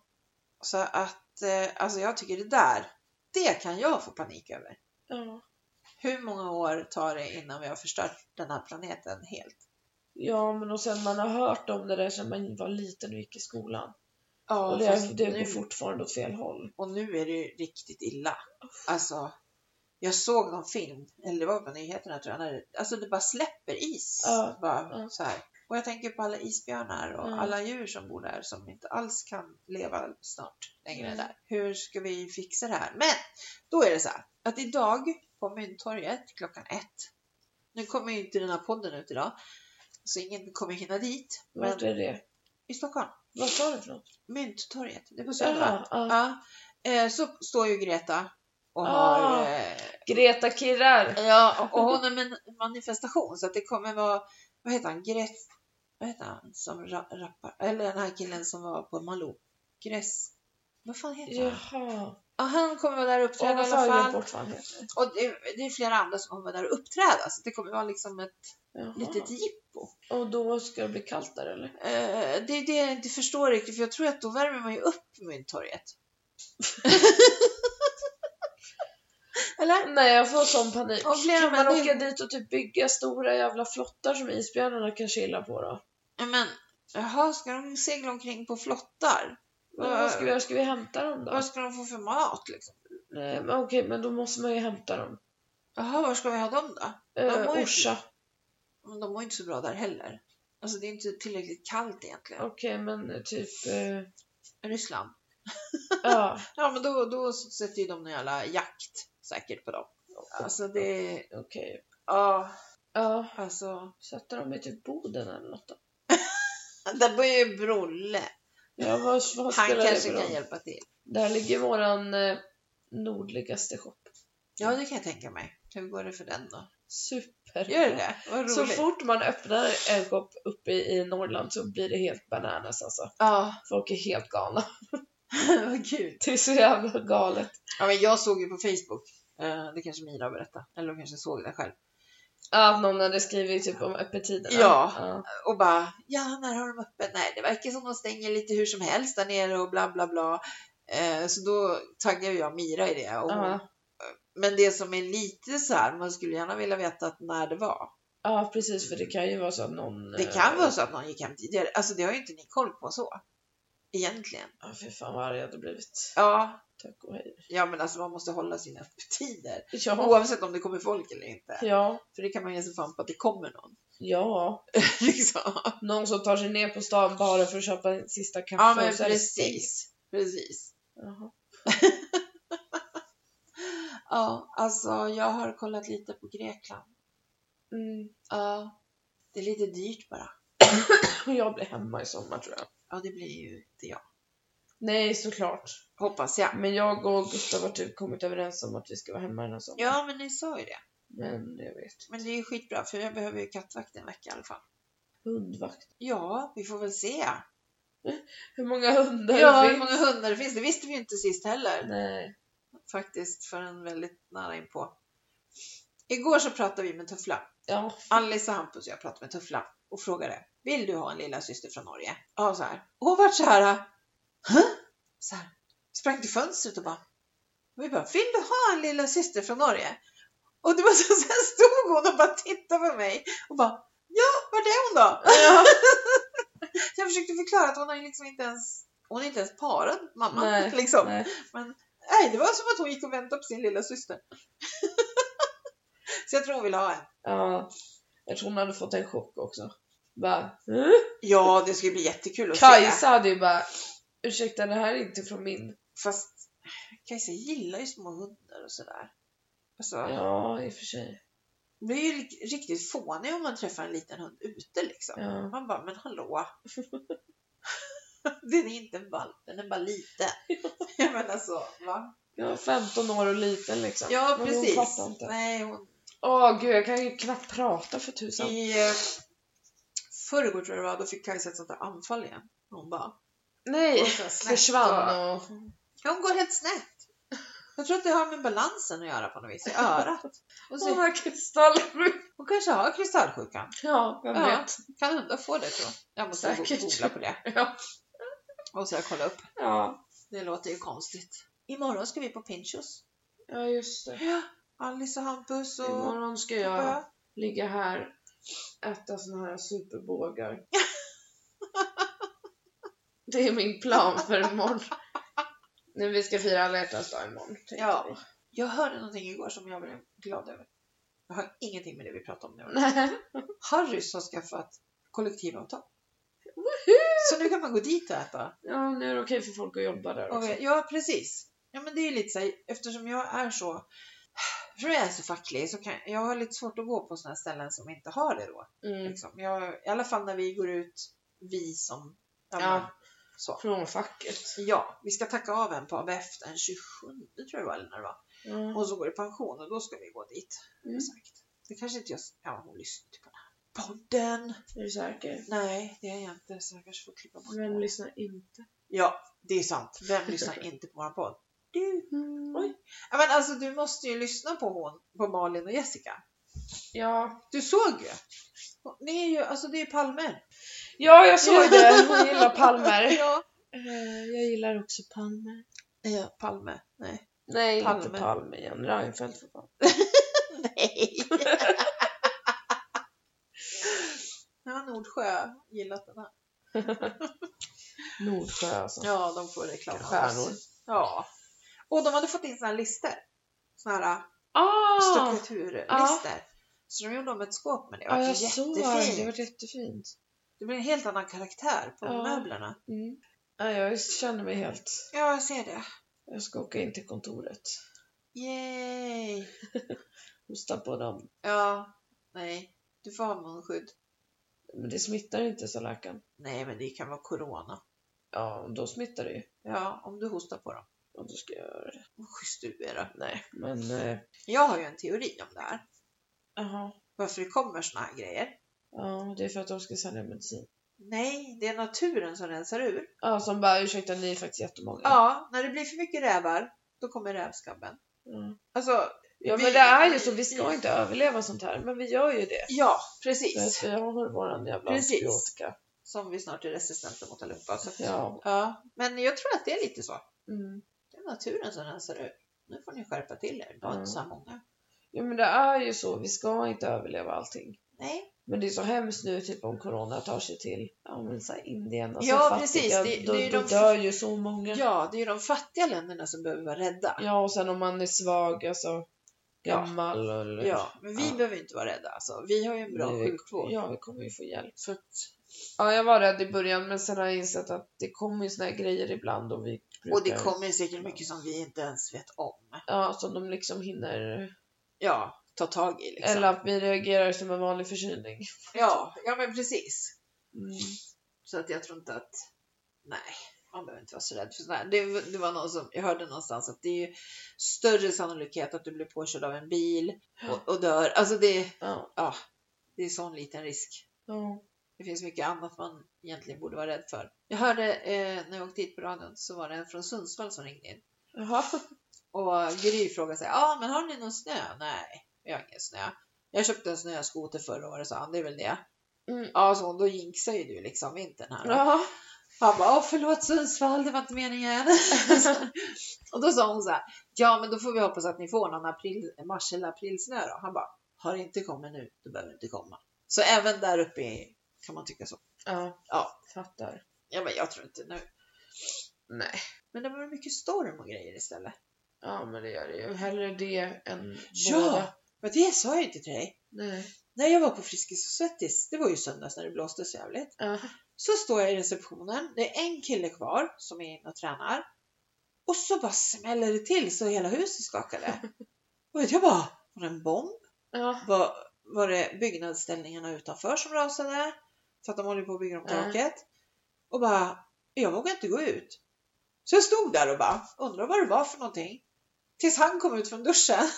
[SPEAKER 2] Så att, eh, alltså jag tycker det där, det kan jag få panik över.
[SPEAKER 1] Ja.
[SPEAKER 2] Hur många år tar det innan vi har förstört den här planeten helt?
[SPEAKER 1] ja, men och sen man har hört om det där sen man var liten och gick i skolan.
[SPEAKER 2] Ja,
[SPEAKER 1] Och
[SPEAKER 2] fast
[SPEAKER 1] det, det går
[SPEAKER 2] nu-
[SPEAKER 1] fortfarande åt fel håll.
[SPEAKER 2] Och nu är det ju riktigt illa. Alltså, jag såg någon film, eller det var på nyheterna tror jag, när det, alltså det bara släpper is.
[SPEAKER 1] Ja,
[SPEAKER 2] Bara,
[SPEAKER 1] ja.
[SPEAKER 2] så här. Och jag tänker på alla isbjörnar och
[SPEAKER 1] Mm.
[SPEAKER 2] alla djur som bor där som inte alls kan leva snart längre
[SPEAKER 1] Mm.
[SPEAKER 2] där. Hur ska vi fixa det här? Men då är det så här att idag på Mynttorget klockan ett, nu kommer ju inte den här podden ut idag, så ingen kommer hinna dit, men
[SPEAKER 1] Vart är det?
[SPEAKER 2] i Stockholm,
[SPEAKER 1] Vad sa du för något?
[SPEAKER 2] Mynttorget, det är på Söder. va?
[SPEAKER 1] Ja, ja.
[SPEAKER 2] Ja, eh, så står ju Greta och
[SPEAKER 1] Ah.
[SPEAKER 2] har... Eh,
[SPEAKER 1] Greta kirrar!
[SPEAKER 2] ja, och hon är med en manifestation så att det kommer vara, vad heter han, Gret... Vad heter han som ra- rappar? Eller den här killen som var på Malou? Gress... Vad fan heter han?
[SPEAKER 1] Jaha.
[SPEAKER 2] Ja, han kommer vara där och
[SPEAKER 1] Åh,
[SPEAKER 2] uppträda i
[SPEAKER 1] varför har
[SPEAKER 2] alla
[SPEAKER 1] jag glömt
[SPEAKER 2] fall.
[SPEAKER 1] bort vad han heter?
[SPEAKER 2] Och det, det är flera andra som kommer vara där och uppträda så det kommer vara liksom ett
[SPEAKER 1] Jaha.
[SPEAKER 2] litet jippo.
[SPEAKER 1] Och då ska det bli kallt där eller?
[SPEAKER 2] Eh, det är det jag inte förstår riktigt för jag tror att då värmer man ju upp Mynttorget. Eller?
[SPEAKER 1] Nej jag får sån panik.
[SPEAKER 2] Och flera
[SPEAKER 1] kan man
[SPEAKER 2] människor-
[SPEAKER 1] åka dit och typ bygga stora jävla flottar som isbjörnarna kan chilla på då?
[SPEAKER 2] Ja, Men jaha, ska de segla omkring på flottar?
[SPEAKER 1] Men
[SPEAKER 2] Ja.
[SPEAKER 1] vad ska vi göra? Ska vi hämta dem då?
[SPEAKER 2] Vad ska de få för mat liksom?
[SPEAKER 1] Nej men okej men då måste man ju hämta dem.
[SPEAKER 2] Jaha, var ska vi ha dem då?
[SPEAKER 1] Eh,
[SPEAKER 2] mår ju-
[SPEAKER 1] Orsa.
[SPEAKER 2] Men de mår ju inte så bra där heller. Alltså det är inte tillräckligt kallt egentligen.
[SPEAKER 1] Okej men typ... eh,
[SPEAKER 2] Ryssland.
[SPEAKER 1] ja.
[SPEAKER 2] Ja, men då, då sätter ju de någon jävla jakt säkert på dem. Alltså det...
[SPEAKER 1] Okej.
[SPEAKER 2] Ja,
[SPEAKER 1] Ja.
[SPEAKER 2] alltså...
[SPEAKER 1] Sätta dem i typ Boden eller något då.
[SPEAKER 2] Där bor ju Brolle.
[SPEAKER 1] Ja vad, vad
[SPEAKER 2] Han
[SPEAKER 1] spelar det för
[SPEAKER 2] kanske kan
[SPEAKER 1] roll?
[SPEAKER 2] hjälpa till.
[SPEAKER 1] Där ligger våran eh, nordligaste shop.
[SPEAKER 2] Ja, det kan jag tänka mig. Hur går det för den då?
[SPEAKER 1] Super.
[SPEAKER 2] Gör det det? Vad roligt.
[SPEAKER 1] Så fort man öppnar en shop uppe i Norrland så blir det helt bananas alltså.
[SPEAKER 2] Ja,
[SPEAKER 1] Folk är helt galna.
[SPEAKER 2] vad kul.
[SPEAKER 1] Det är så jävla galet.
[SPEAKER 2] Ja, men jag såg ju på Facebook, eh, Eh, det kanske Mira har berättat, eller hon kanske såg det själv.
[SPEAKER 1] Ja, någon hade skrivit typ om öppettiderna.
[SPEAKER 2] Ja.
[SPEAKER 1] ja.
[SPEAKER 2] Och bara, ja när har de öppet? Nej, det verkar som de stänger lite hur som helst där nere och bla bla bla. Eh, så då taggade jag Mira i det. Och hon,
[SPEAKER 1] Ja,
[SPEAKER 2] Men det som är lite så här, man skulle gärna vilja veta att när det var.
[SPEAKER 1] ja, precis för det kan ju vara så att någon...
[SPEAKER 2] Det kan vara så att någon gick hem tidigare. Alltså det har ju inte ni koll på så. Egentligen.
[SPEAKER 1] eh, Ja, fy fan vad arg jag hade blivit.
[SPEAKER 2] Ja,
[SPEAKER 1] Tack och hej.
[SPEAKER 2] ja men alltså man måste hålla sina öppettider.
[SPEAKER 1] Ja,
[SPEAKER 2] Oavsett om det kommer folk eller inte.
[SPEAKER 1] ja,
[SPEAKER 2] För det kan man ge sig fan på att det kommer någon.
[SPEAKER 1] ja.
[SPEAKER 2] liksom.
[SPEAKER 1] Någon som tar sig ner på stan bara för att köpa en sista kaffe.
[SPEAKER 2] Ja
[SPEAKER 1] och
[SPEAKER 2] men
[SPEAKER 1] så är det stängt.
[SPEAKER 2] precis. Precis.
[SPEAKER 1] Jaha.
[SPEAKER 2] Ja, alltså jag har kollat lite på Grekland.
[SPEAKER 1] Mm.
[SPEAKER 2] Ja, det är lite dyrt bara.
[SPEAKER 1] Och jag blir hemma i sommar tror jag.
[SPEAKER 2] Ja, det blir ju inte jag.
[SPEAKER 1] Nej, såklart.
[SPEAKER 2] Hoppas jag.
[SPEAKER 1] Men jag och Gustav har typ kommit överens om att vi ska vara hemma den här sommaren.
[SPEAKER 2] Ja, men ni sa ju det.
[SPEAKER 1] Men jag vet.
[SPEAKER 2] Men det är ju skitbra för jag behöver ju kattvakt en vecka i alla fall.
[SPEAKER 1] Hundvakt.
[SPEAKER 2] Ja, vi får väl se.
[SPEAKER 1] Hur många hundar
[SPEAKER 2] Ja,
[SPEAKER 1] det
[SPEAKER 2] hur
[SPEAKER 1] finns?
[SPEAKER 2] många hundar det finns. Det visste vi ju inte sist heller.
[SPEAKER 1] Nej.
[SPEAKER 2] Faktiskt förrän väldigt nära inpå. Igår så pratade vi med Tuffla.
[SPEAKER 1] Ja.
[SPEAKER 2] Alice och Hampus och jag pratade med Tuffla och frågade. Vill du ha en lilla syster från Norge? Ja, så här. Och hon vart så här. Hä? Så här. Sprang till fönstret och bara. Och vi bara. Vill du ha en lilla syster från Norge? Och det var så sen stod hon och bara tittade på mig och bara. Ja, vart är hon då? Jag försökte förklara att hon har ju liksom inte ens. Hon är inte ens parad mamma.
[SPEAKER 1] Nej,
[SPEAKER 2] liksom.
[SPEAKER 1] Nej.
[SPEAKER 2] Nej, det var som att hon gick och väntade på sin lilla syster. Så jag tror hon vill ha en.
[SPEAKER 1] Ja. Jag tror hon hade fått en chock också. Bara, "Hä?"
[SPEAKER 2] Ja, det skulle bli jättekul att se.
[SPEAKER 1] Kajsa hade ju bara, ursäkta det här är inte från min.
[SPEAKER 2] Fast Kajsa gillar ju små hundar och sådär. Alltså,
[SPEAKER 1] Ja, i och för sig.
[SPEAKER 2] Det blir ju lik- riktigt fånig om man träffar en liten hund ute liksom.
[SPEAKER 1] Ja.
[SPEAKER 2] Man bara, men hallå. den är inte en valp, den är bara liten. jag menar så, va?
[SPEAKER 1] Jag var 15 år och liten liksom.
[SPEAKER 2] Ja,
[SPEAKER 1] Men
[SPEAKER 2] precis.
[SPEAKER 1] Hon fattar inte.
[SPEAKER 2] Nej, hon...
[SPEAKER 1] Åh gud, jag kan ju knappt prata för tusan.
[SPEAKER 2] I eh, förrgår tror jag det var, då fick Kajsa ett sånt där anfall igen. Hon bara...
[SPEAKER 1] Nej,
[SPEAKER 2] och så här snett och-
[SPEAKER 1] försvann och...
[SPEAKER 2] Ja, hon går helt snett. Jag tror att det har med balansen att göra på något vis, i örat. Och
[SPEAKER 1] Hon
[SPEAKER 2] så,
[SPEAKER 1] har kristallsjuk.
[SPEAKER 2] hon kanske har kristallsjukan.
[SPEAKER 1] Ja, vem
[SPEAKER 2] Ja.
[SPEAKER 1] vet.
[SPEAKER 2] Kan hundar få det tror jag. Jag måste
[SPEAKER 1] Säkert.
[SPEAKER 2] go- googla på det.
[SPEAKER 1] Ja.
[SPEAKER 2] Och så jag kolla upp.
[SPEAKER 1] Ja.
[SPEAKER 2] Det låter ju konstigt. Imorgon ska vi på Pinchos.
[SPEAKER 1] ja, just det.
[SPEAKER 2] Ja, Alice och Hampus och...
[SPEAKER 1] Imorgon ska jag
[SPEAKER 2] Ja.
[SPEAKER 1] ligga här, äta såna här superbågar. Det är min plan för imorgon. När vi ska fira alla hjärtans dag imorgon. tänkte
[SPEAKER 2] Ja.
[SPEAKER 1] vi.
[SPEAKER 2] Jag hörde någonting igår som jag blev glad över. Jag har ingenting med det vi pratar om nu.
[SPEAKER 1] Nej.
[SPEAKER 2] Harrys har skaffat kollektivavtal. Så nu kan man gå dit och äta.
[SPEAKER 1] Ja, nu är det okej för folk att jobba där
[SPEAKER 2] Och
[SPEAKER 1] också.
[SPEAKER 2] jag- ja, precis. Ja, men det är ju lite så här, eftersom jag är så, eftersom jag är så facklig så kan jag har lite svårt att gå på sådana ställen som inte har det då.
[SPEAKER 1] Mm.
[SPEAKER 2] Liksom. Jag, I alla fall när vi går ut, vi som, ja,
[SPEAKER 1] Ja.
[SPEAKER 2] men, så.
[SPEAKER 1] Från facket.
[SPEAKER 2] Ja, vi ska tacka av en på ABF den 27 tror jag det var, eller när det var.
[SPEAKER 1] Ja.
[SPEAKER 2] Hon som går i pension och då ska vi gå dit.
[SPEAKER 1] Mm.
[SPEAKER 2] Sagt. Det kanske inte jag, ja hon lyssnar inte på den här podden.
[SPEAKER 1] Är du säker?
[SPEAKER 2] Nej, det är jag inte så jag kanske får klippa bort
[SPEAKER 1] Vem
[SPEAKER 2] det.
[SPEAKER 1] lyssnar inte?
[SPEAKER 2] Ja, det är Mm. sant. Vem lyssnar inte på våran podd? Du.
[SPEAKER 1] Oj.
[SPEAKER 2] Ja, men alltså du måste ju lyssna på hon, på Malin och Jessica.
[SPEAKER 1] Ja.
[SPEAKER 2] Du såg ju. Det är ju, alltså det är palmer.
[SPEAKER 1] ja, jag såg det. Hon gillar palmer.
[SPEAKER 2] ja.
[SPEAKER 1] Eh, Jag gillar också palmer.
[SPEAKER 2] ja. Palme. Nej.
[SPEAKER 1] Nej,
[SPEAKER 2] Palme.
[SPEAKER 1] inte Palme igen. Reinfeldt för fan.
[SPEAKER 2] Nej. ja, Nordsjö gillat den här.
[SPEAKER 1] Nordsjö alltså.
[SPEAKER 2] Ja, de får reklam.
[SPEAKER 1] Stjärnor.
[SPEAKER 2] Ja. Och de hade fått in såna här listor. Såna här
[SPEAKER 1] Ah!
[SPEAKER 2] stuckaturlistor. Så de gjorde om ett skåp med det. Det
[SPEAKER 1] Ja,
[SPEAKER 2] var
[SPEAKER 1] jag såg. Det
[SPEAKER 2] Alltså, jättefint.
[SPEAKER 1] var jättefint.
[SPEAKER 2] Det blir en helt annan karaktär på
[SPEAKER 1] Ja.
[SPEAKER 2] möblerna.
[SPEAKER 1] Mm. Ja, jag känner mig helt...
[SPEAKER 2] Ja, jag ser det.
[SPEAKER 1] Jag ska åka in till kontoret.
[SPEAKER 2] Yay!
[SPEAKER 1] Hosta på dem.
[SPEAKER 2] Ja, nej. Du får ha munskydd.
[SPEAKER 1] Men det smittar inte, sa läkaren.
[SPEAKER 2] Nej, men det kan vara corona.
[SPEAKER 1] Ja, då smittar det ju.
[SPEAKER 2] Ja, om du hostar på dem.
[SPEAKER 1] Och då ska jag göra det.
[SPEAKER 2] Vad schysst du är då.
[SPEAKER 1] Nej, men... eh,
[SPEAKER 2] Jag har ju en teori om det här.
[SPEAKER 1] Jaha.
[SPEAKER 2] Varför det kommer såna här grejer.
[SPEAKER 1] ja, det är för att de ska sälja medicin.
[SPEAKER 2] Nej, det är naturen som rensar ur.
[SPEAKER 1] Ja, som bara ursäkta, ni är faktiskt jättemånga.
[SPEAKER 2] Ja, när det blir för mycket rävar, då kommer rävskabben.
[SPEAKER 1] Ja.
[SPEAKER 2] Alltså,
[SPEAKER 1] Ja
[SPEAKER 2] Vi-
[SPEAKER 1] men det är ju så, vi ska inte överleva sånt här, men vi gör ju det.
[SPEAKER 2] Ja,
[SPEAKER 1] För att
[SPEAKER 2] precis.
[SPEAKER 1] vi har våran jävla
[SPEAKER 2] Precis.
[SPEAKER 1] antibiotika.
[SPEAKER 2] Som vi snart är resistenta mot allihopa. Så.
[SPEAKER 1] Ja.
[SPEAKER 2] Ja, men jag tror att det är lite så.
[SPEAKER 1] Mm.
[SPEAKER 2] Det är naturen som rensar ut. Nu får ni skärpa till er. Det var inte så här många.
[SPEAKER 1] Jo men det är ju så, vi ska inte överleva allting.
[SPEAKER 2] Nej,
[SPEAKER 1] Men det är så hemskt nu typ om corona tar sig till ja, men så här Indien, alltså
[SPEAKER 2] Ja,
[SPEAKER 1] fattiga,
[SPEAKER 2] precis. Det-
[SPEAKER 1] då,
[SPEAKER 2] det är ju
[SPEAKER 1] då
[SPEAKER 2] de-
[SPEAKER 1] dör ju så många. Ja.
[SPEAKER 2] ja, det är ju de fattiga länderna som behöver vara rädda.
[SPEAKER 1] och sen om man är svag, alltså
[SPEAKER 2] Ja.
[SPEAKER 1] gammal eller...
[SPEAKER 2] Ja, men vi
[SPEAKER 1] Ja.
[SPEAKER 2] behöver inte vara rädda. Alltså, vi har ju en bra
[SPEAKER 1] Nej, vi-
[SPEAKER 2] sjukvård.
[SPEAKER 1] ja, vi kommer ju få hjälp.
[SPEAKER 2] Så att,
[SPEAKER 1] Ja, jag var rädd i början men sen har jag insett att det kommer ju såna här grejer ibland och vi brukar...
[SPEAKER 2] och det kommer ju säkert mycket som vi inte ens vet om.
[SPEAKER 1] Ja, som de liksom hinner...
[SPEAKER 2] Ja, ta tag i liksom.
[SPEAKER 1] Eller att vi reagerar som en vanlig förkylning.
[SPEAKER 2] Ja, ja men precis.
[SPEAKER 1] Mm.
[SPEAKER 2] Så att jag tror inte att, nej, man behöver inte vara så rädd för sådär. Det, det var någon som, jag hörde någonstans att det är ju större sannolikhet att du blir påkörd av en bil och, och dör. Alltså det,
[SPEAKER 1] Ja.
[SPEAKER 2] ja, det är sån liten risk.
[SPEAKER 1] ja.
[SPEAKER 2] Det finns mycket annat man egentligen borde vara rädd för. Jag hörde eh, när jag åkte hit på radion så var det en från Sundsvall som ringde in.
[SPEAKER 1] Jaha.
[SPEAKER 2] Och Gry frågade sig, ja ah, men har ni någon snö? Nej, vi har ingen snö. Jag köpte en snöskoter förra året, sa han, det är väl det.
[SPEAKER 1] Mm.
[SPEAKER 2] Ja, så då jinxar ju du liksom vintern här. då.
[SPEAKER 1] Ja.
[SPEAKER 2] Han bara, Åh, förlåt Sundsvall, det var inte meningen. och då sa hon så här, ja men då får vi hoppas att ni får någon april, mars eller aprilsnö då. Han bara, har det inte kommit nu, då behöver det inte komma. Så även där uppe i- kan man tycka så.
[SPEAKER 1] ja.
[SPEAKER 2] Ja.
[SPEAKER 1] Fattar.
[SPEAKER 2] Ja men jag tror inte nu.
[SPEAKER 1] Nej.
[SPEAKER 2] Men det var mycket storm och grejer istället.
[SPEAKER 1] Ja, men det gör det ju. Hellre det än
[SPEAKER 2] Ja.
[SPEAKER 1] båda.
[SPEAKER 2] Men det sa jag inte till dig.
[SPEAKER 1] Nej.
[SPEAKER 2] När jag var på Friskis och Svettis, det var ju söndags när det blåste så jävligt.
[SPEAKER 1] Ja.
[SPEAKER 2] Så står jag i receptionen, det är en kille kvar som är inne och tränar. Och så bara smäller det till så hela huset skakade. Och jag bara, var det en bomb?
[SPEAKER 1] Ja.
[SPEAKER 2] Var, var det byggnadsställningarna utanför som rasade? För att de håller på att bygga om
[SPEAKER 1] Ja.
[SPEAKER 2] taket. Och bara, jag vågar inte gå ut. Så jag stod där och bara, undrar vad det var för någonting. Tills han kom ut från duschen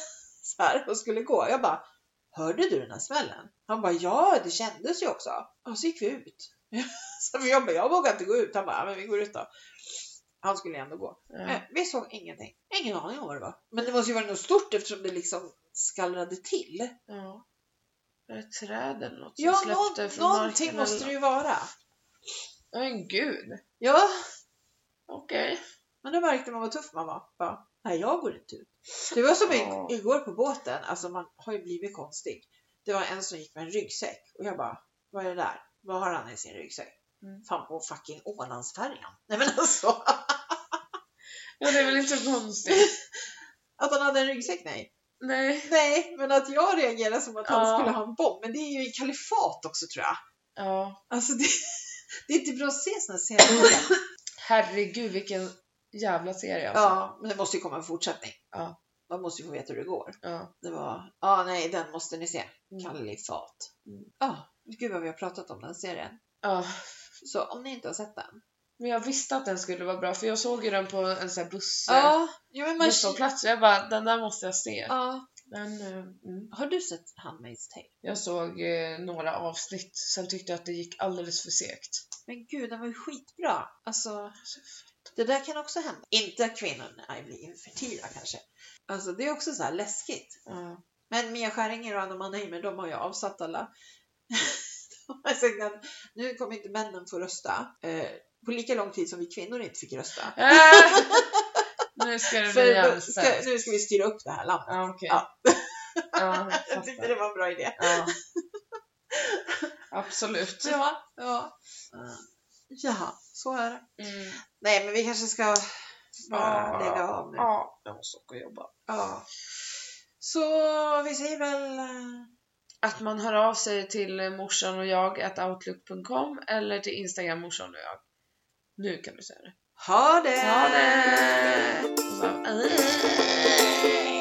[SPEAKER 2] så här, och skulle gå. Jag bara, hörde du den här smällen? Han bara, ja det kändes ju också. Och så gick vi ut. Så jag bara, jag vågar inte gå ut. Han bara, "Ja, men vi går ut då. Han skulle ju ändå gå.
[SPEAKER 1] Ja.
[SPEAKER 2] Nej, vi såg ingenting. Ingen aning om vad det var. Men det måste ju vara något stort eftersom det liksom skallrade till.
[SPEAKER 1] ja. Är det ett träd eller något som
[SPEAKER 2] Ja,
[SPEAKER 1] släppte
[SPEAKER 2] någon,
[SPEAKER 1] från
[SPEAKER 2] någonting
[SPEAKER 1] marken?
[SPEAKER 2] måste det
[SPEAKER 1] eller...
[SPEAKER 2] ju vara.
[SPEAKER 1] du... Men gud.
[SPEAKER 2] Ja,
[SPEAKER 1] Okej.
[SPEAKER 2] men då märkte man vad tuff man var. Bara, Nej, jag går inte ut. Det var som
[SPEAKER 1] Ja.
[SPEAKER 2] i- igår på båten. Alltså man har ju blivit konstig. Det var en som gick med en ryggsäck och jag bara, vad är det där? Vad har han i sin ryggsäck?
[SPEAKER 1] Mm.
[SPEAKER 2] Fan på fucking Ålandsfärjan. Nej men alltså.
[SPEAKER 1] Ja, det är väl inte så konstigt.
[SPEAKER 2] Att han hade en ryggsäck, nej.
[SPEAKER 1] Nej.
[SPEAKER 2] Nej, men att jag reagerar som att han
[SPEAKER 1] Ja.
[SPEAKER 2] skulle ha en bomb. Men det är ju i kalifat också tror jag.
[SPEAKER 1] Ja.
[SPEAKER 2] Alltså det, det är inte bra att se såna scener.
[SPEAKER 1] Herregud vilken jävla serie alltså.
[SPEAKER 2] ja, men det måste ju komma en fortsättning.
[SPEAKER 1] Ja.
[SPEAKER 2] Man måste ju få veta hur det går.
[SPEAKER 1] Ja.
[SPEAKER 2] Det var, ja nej den måste ni se.
[SPEAKER 1] Mm.
[SPEAKER 2] Kalifat.
[SPEAKER 1] Mm.
[SPEAKER 2] Ja, gud vad vi har pratat om den serien.
[SPEAKER 1] ja.
[SPEAKER 2] Så om ni inte har sett den.
[SPEAKER 1] Men jag visste att den skulle vara bra för jag såg ju den på en sån här buss...
[SPEAKER 2] Ja, ja men man...
[SPEAKER 1] busshållplats. Jag bara, den där måste jag se.
[SPEAKER 2] Ja.
[SPEAKER 1] Men, eh, mm.
[SPEAKER 2] Har du sett Handmaid's Tale?
[SPEAKER 1] Jag såg eh, några avsnitt, sen tyckte jag att det gick alldeles för segt.
[SPEAKER 2] Men gud, den var ju skitbra. Alltså, det där kan också hända. Inte att kvinnorna blir infertila kanske. Alltså det är också så här läskigt.
[SPEAKER 1] Ja.
[SPEAKER 2] Men Mia Skäringer och Anna Mannheimer, de har ju avsatt alla. de har sagt att nu kommer inte männen få rösta. Eh, på lika lång tid som vi kvinnor inte fick rösta.
[SPEAKER 1] Äh! nu ska det bli
[SPEAKER 2] För då ska,
[SPEAKER 1] jämställt.
[SPEAKER 2] nu ska vi styra upp det här landet.
[SPEAKER 1] Ja, Ah, okej.
[SPEAKER 2] Ja.
[SPEAKER 1] Ja, jag
[SPEAKER 2] Jag tyckte
[SPEAKER 1] fattar.
[SPEAKER 2] det var en bra idé.
[SPEAKER 1] Ja. Absolut.
[SPEAKER 2] Ja, ja. Jaha, så är det.
[SPEAKER 1] Mm.
[SPEAKER 2] Nej, men vi kanske ska bara
[SPEAKER 1] Ja.
[SPEAKER 2] lägga av nu.
[SPEAKER 1] Ja, jag måste åka och jobba.
[SPEAKER 2] Ja. Så vi säger väl... eh,
[SPEAKER 1] Att man hör av sig till eh, morsan och jag at outlook.com eller till Instagram morsan och jag. Nu kan du säga det.
[SPEAKER 2] Ha det!
[SPEAKER 1] Ha det! Och så, äh.